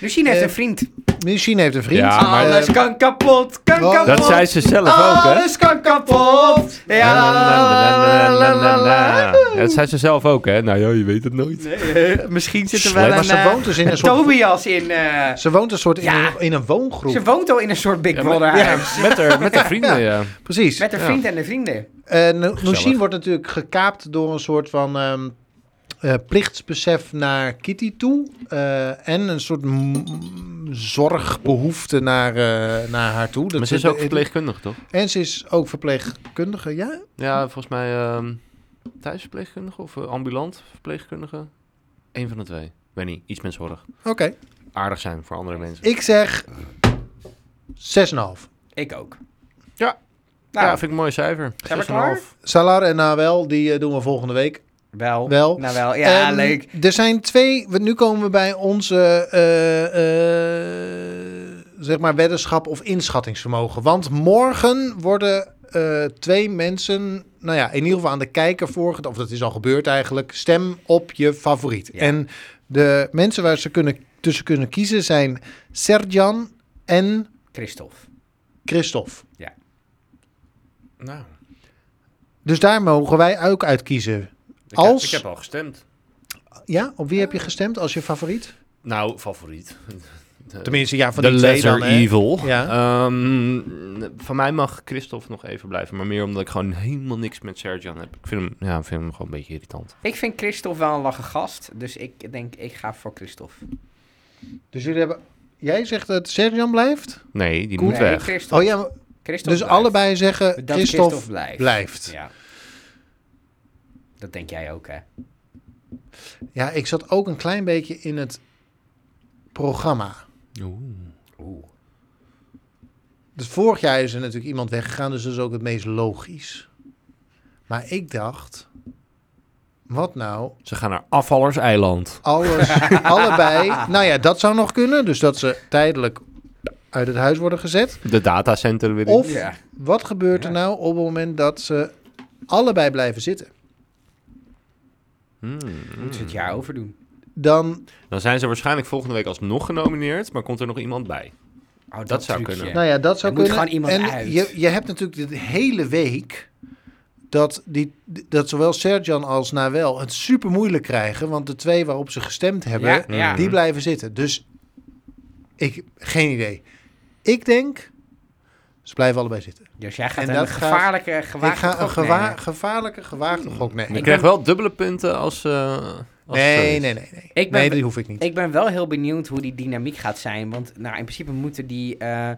S1: Lucine heeft
S3: Eh,
S1: een vriend.
S3: Noushin heeft een vriend.
S2: Ja, maar-
S3: Eh,
S1: alles kan kapot, kan
S3: wat?
S1: kapot.
S2: Dat zei ze zelf ook, hè?
S1: Alles kan kapot. Ja.
S2: Ja, Dat zei ze zelf ook, hè? Nou ja, je weet het nooit.
S1: Nee, eh, misschien zit er
S2: Slecht.
S1: wel
S3: maar
S1: een,
S3: ze
S1: eh,
S3: woont dus in een soort...
S1: Tobias in. eh,
S3: Ze woont een soort in,
S1: Ja.
S3: een, in een woongroep.
S1: ze woont al in een soort Big
S2: Ja,
S1: Brother
S2: maar-
S1: huis.
S2: Met haar, met haar vrienden, ja.
S3: Precies.
S1: Met haar
S2: Ja.
S1: vriend en de vrienden.
S3: Eh, Nou- Noushin
S2: Gezellig.
S3: wordt natuurlijk gekaapt door een soort van ehm, eh, plichtsbesef naar Kitty toe. eh, en een soort mm, zorgbehoefte naar, eh, naar haar toe. Dat
S2: Maar ze is
S3: zit-
S2: ook verpleegkundige, toch?
S3: En ze is ook verpleegkundige, ja?
S2: Ja, volgens mij ehm thuisverpleegkundige of eh, ambulant verpleegkundige. Eén van de twee. Weet niet, iets met zorg.
S3: Oké.
S2: Aardig zijn voor andere mensen.
S3: Ik zeg 6,5.
S1: Ik ook.
S2: Ja.
S1: Nou,
S2: ja, vind ik een mooi cijfer.
S1: zijn we
S2: 6,5.
S1: klaar?
S3: Salar en Nawel, die eh, doen we volgende week.
S1: Wel.
S3: Wel.
S1: Nou wel. Ja,
S3: En
S1: leuk.
S3: Ehm, Er zijn twee, we- nu komen we bij onze eh, eh, zeg maar weddenschap of inschattingsvermogen. Want morgen worden eh, twee mensen, nou ja, in ieder geval aan de kijker voorgedaan, of dat is al gebeurd eigenlijk, stem op je favoriet.
S1: Ja.
S3: En de mensen waar ze kunnen, tussen kunnen kiezen zijn Serjan en
S1: Christophe.
S3: Christophe.
S2: Nou,
S3: Dus daar mogen wij ook uit kiezen.
S2: ik,
S3: Als-
S2: heb, ik heb al gestemd.
S3: Ja, op wie heb je gestemd als je favoriet?
S2: Nou, favoriet. de-
S3: Tenminste, ja, van
S2: de
S3: die twee
S2: lesser
S3: dan, hè.
S2: evil.
S3: Ja.
S2: Ehm, van mij mag Christophe nog even blijven. Maar meer omdat ik gewoon helemaal niks met Sergian heb. Ik vind hem, ja, ik vind hem gewoon een beetje irritant.
S1: Ik vind Christophe wel een lachen gast, dus ik denk, ik ga voor Christophe.
S3: Dus jullie hebben... Jij zegt dat Serjan blijft?
S2: Nee, die
S3: Cool.
S2: moet
S1: Nee,
S2: weg.
S1: Christophe.
S3: Oh ja, maar-
S1: Christophe
S3: dus
S1: blijft.
S3: allebei zeggen
S1: Dat
S3: Christophe,
S1: blijft.
S3: blijft. Ja.
S1: Ja. Dat denk jij ook, hè?
S3: ik zat ook een klein beetje in het programma.
S1: Oeh.
S3: Dus vorig jaar is er natuurlijk iemand weggegaan, dus dat is ook het meest logisch. Maar ik dacht, wat nou
S2: Ze gaan naar Afvallerseiland.
S3: alles, allebei. Nou ja, dat zou nog kunnen. Dus dat ze tijdelijk uit het huis worden gezet.
S2: De datacenter weer in.
S3: Of Hmm.
S1: Ja.
S3: wat gebeurt er
S1: Ja.
S3: nou op het moment dat ze allebei blijven zitten?
S2: Hmm.
S1: Moeten ze het jaar overdoen?
S3: Dan,
S2: Dan zijn ze waarschijnlijk volgende week alsnog genomineerd. Maar komt er nog iemand bij?
S1: Oh, dat,
S2: zou
S1: trucje.
S2: kunnen.
S3: nou ja, dat zou
S1: Er moet
S3: kunnen.
S1: gewoon iemand
S3: en
S1: uit.
S3: Je, je hebt natuurlijk de hele week dat, die, dat zowel Serjan als Nawel het super moeilijk krijgen. Want de twee waarop ze gestemd hebben,
S1: Ja, ja.
S3: die blijven zitten. Dus ik, geen idee. Ik denk, ze blijven allebei zitten.
S1: Dus jij gaat
S3: En
S1: een
S3: dat gaat-
S1: gevaarlijke,
S3: Ik
S1: gewaagde
S3: ga een
S1: gok nemen.
S3: gewa- gevaarlijke gewaagde gok
S2: Je
S3: nemen.
S2: krijgt wel dubbele punten als... eh, als het zo
S3: Nee,
S2: is.
S3: nee, nee, nee. dus
S1: Ik ben-
S3: nee, die hoef ik niet.
S1: Ik ben wel heel benieuwd hoe die dynamiek gaat zijn. Want nou, in principe moeten die... eh,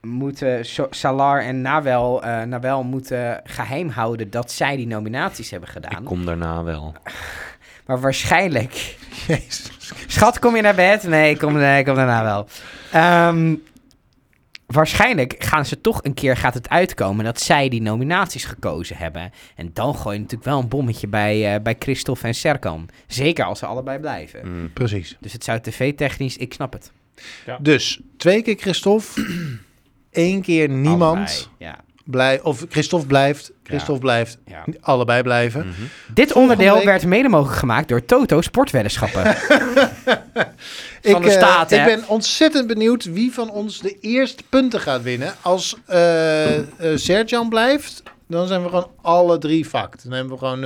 S1: moeten So- Salar en Nawel, eh, Nawel moeten geheim houden dat zij die nominaties hebben
S2: Ik
S1: gedaan.
S2: kom daarna wel.
S1: Maar waarschijnlijk...
S3: Jezus.
S1: Schat, kom je naar bed? Nee, ik kom, nee, ik kom daarna wel. Ehm, waarschijnlijk gaan ze toch een keer gaat het uitkomen dat zij die nominaties gekozen hebben. En dan gooi je natuurlijk wel een bommetje bij, eh, bij Christophe en Serkan. Zeker als ze allebei blijven.
S2: Hmm.
S3: Precies.
S1: Dus het zou tv-technisch, ik snap het.
S3: Dus twee keer Christophe, één keer niemand.
S1: Allebei, Ja,
S3: Blij, of Christophe blijft, Christophe blijft,
S1: ja.
S3: allebei
S1: Mm.
S3: blijven.
S2: Mhm.
S1: Dit onderdeel
S3: week-
S1: werd mede mogelijk gemaakt door Toto Sportweddenschappen. Van
S3: ik,
S1: de
S3: eh,
S1: staat,
S3: ik
S1: hè?
S3: ben ontzettend benieuwd wie van ons de eerste punten gaat winnen. Als eh, eh, Serjan blijft, dan zijn we gewoon alle drie fucked. Dan hebben we gewoon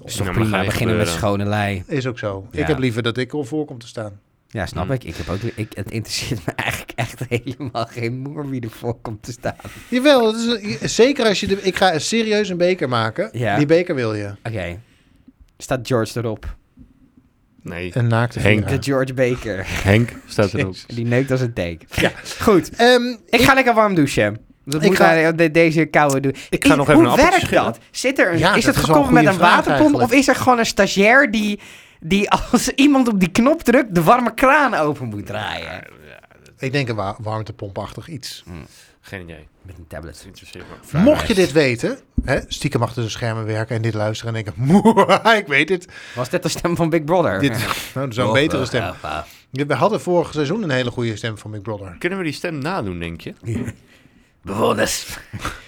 S3: 0-0-0.
S1: is toch
S2: Ja, maar ga
S1: prima,
S2: je
S1: beginnen met
S2: gebeuren.
S1: schone lei.
S3: Is ook zo.
S1: Ja.
S3: Ik heb liever dat ik al voor kom te staan.
S1: Ja, snap
S2: Hmm.
S1: ik. ik, heb ook, ik. Het interesseert me eigenlijk echt helemaal geen moer wie ervoor komt te staan.
S3: Jawel, dat is, je- zeker als je... De, ik ga serieus een beker maken.
S1: Ja.
S3: Die beker wil je.
S1: Oké. Staat George erop?
S2: Nee,
S3: Een naakte
S2: Henk.
S3: vira.
S1: De George Baker.
S2: Henk staat erop.
S1: Die neukt als een tank. Ja. Goed.
S3: Ehm,
S1: Ik ga lekker warm douchen. Dat
S3: Ik
S1: moet
S3: ga-
S1: naar de- deze koude doen.
S2: Ik ga nog even een
S1: Hoe
S2: appeltje
S1: werkt
S2: schillen.
S1: dat? Zit er een,
S3: Ja,
S1: is
S3: dat
S1: dat,
S3: is wel een
S1: gekoppeld met
S3: goede
S1: een
S3: vraag
S1: waterpomp?
S3: eigenlijk.
S1: Of is er gewoon een stagiair die, die als iemand op die knop drukt... de warme kraan open moet draaien?
S3: ik denk een wa- warmtepompachtig
S1: Mm,
S3: iets.
S2: Geen idee.
S1: Met een
S2: Het
S1: tablet.
S2: interesseert me.
S3: Mocht je dit weten, hè, stiekem achter de schermen werken en dit luisteren en denken... "Moe, ik weet het.
S1: Was dit de stem van Big Brother?
S3: Dit, nou, zo'n
S1: eh,
S3: betere stem. We hadden vorig seizoen een hele goede stem van Big Brother.
S2: Kunnen we die stem nadoen, denk je?
S1: Bewoners.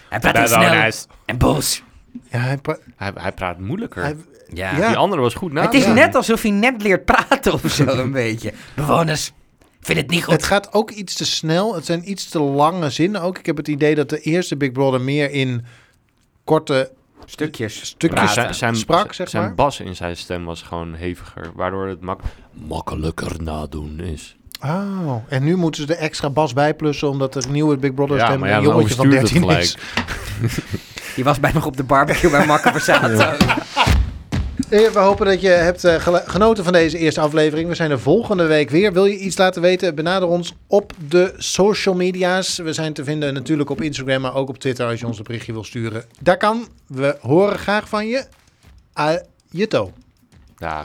S1: Hij praat heel snel en boos.
S3: Ja, hij pra-
S2: Hij, hij praat moeilijker.
S3: hij-
S1: Ja.
S3: Ja.
S2: Die andere was goed na.
S1: Het is
S3: ja.
S1: net alsof hij net leert praten of zo een beetje. Bewoners, ik vind het niet goed.
S3: het gaat ook iets te snel. Het zijn iets te lange zinnen ook. Ik heb het idee dat de eerste Big Brother meer in korte
S1: Stukjes.
S3: stukjes
S1: Praten.
S3: sprak, zeg
S2: zijn
S3: maar.
S2: bas in zijn stem was gewoon heviger, waardoor het mak makkelijker nadoen is.
S3: Oh, en nu moeten ze er extra bas bij plussen omdat er nieuwe Big Brother stem een
S2: dan
S3: jongetje van
S2: overstuurt het
S3: 13 is.
S1: Die was bij nog op de barbecue bij Makke Versato.
S3: Eh, We hopen dat je hebt eh, gele- genoten van deze eerste aflevering. We zijn er volgende week weer. Wil je iets laten weten? Benader ons op de social media's. We zijn te vinden natuurlijk op Instagram, maar ook op Twitter als je ons een berichtje wil sturen. Daar kan. We horen graag van je. Ajeto.
S2: Ja,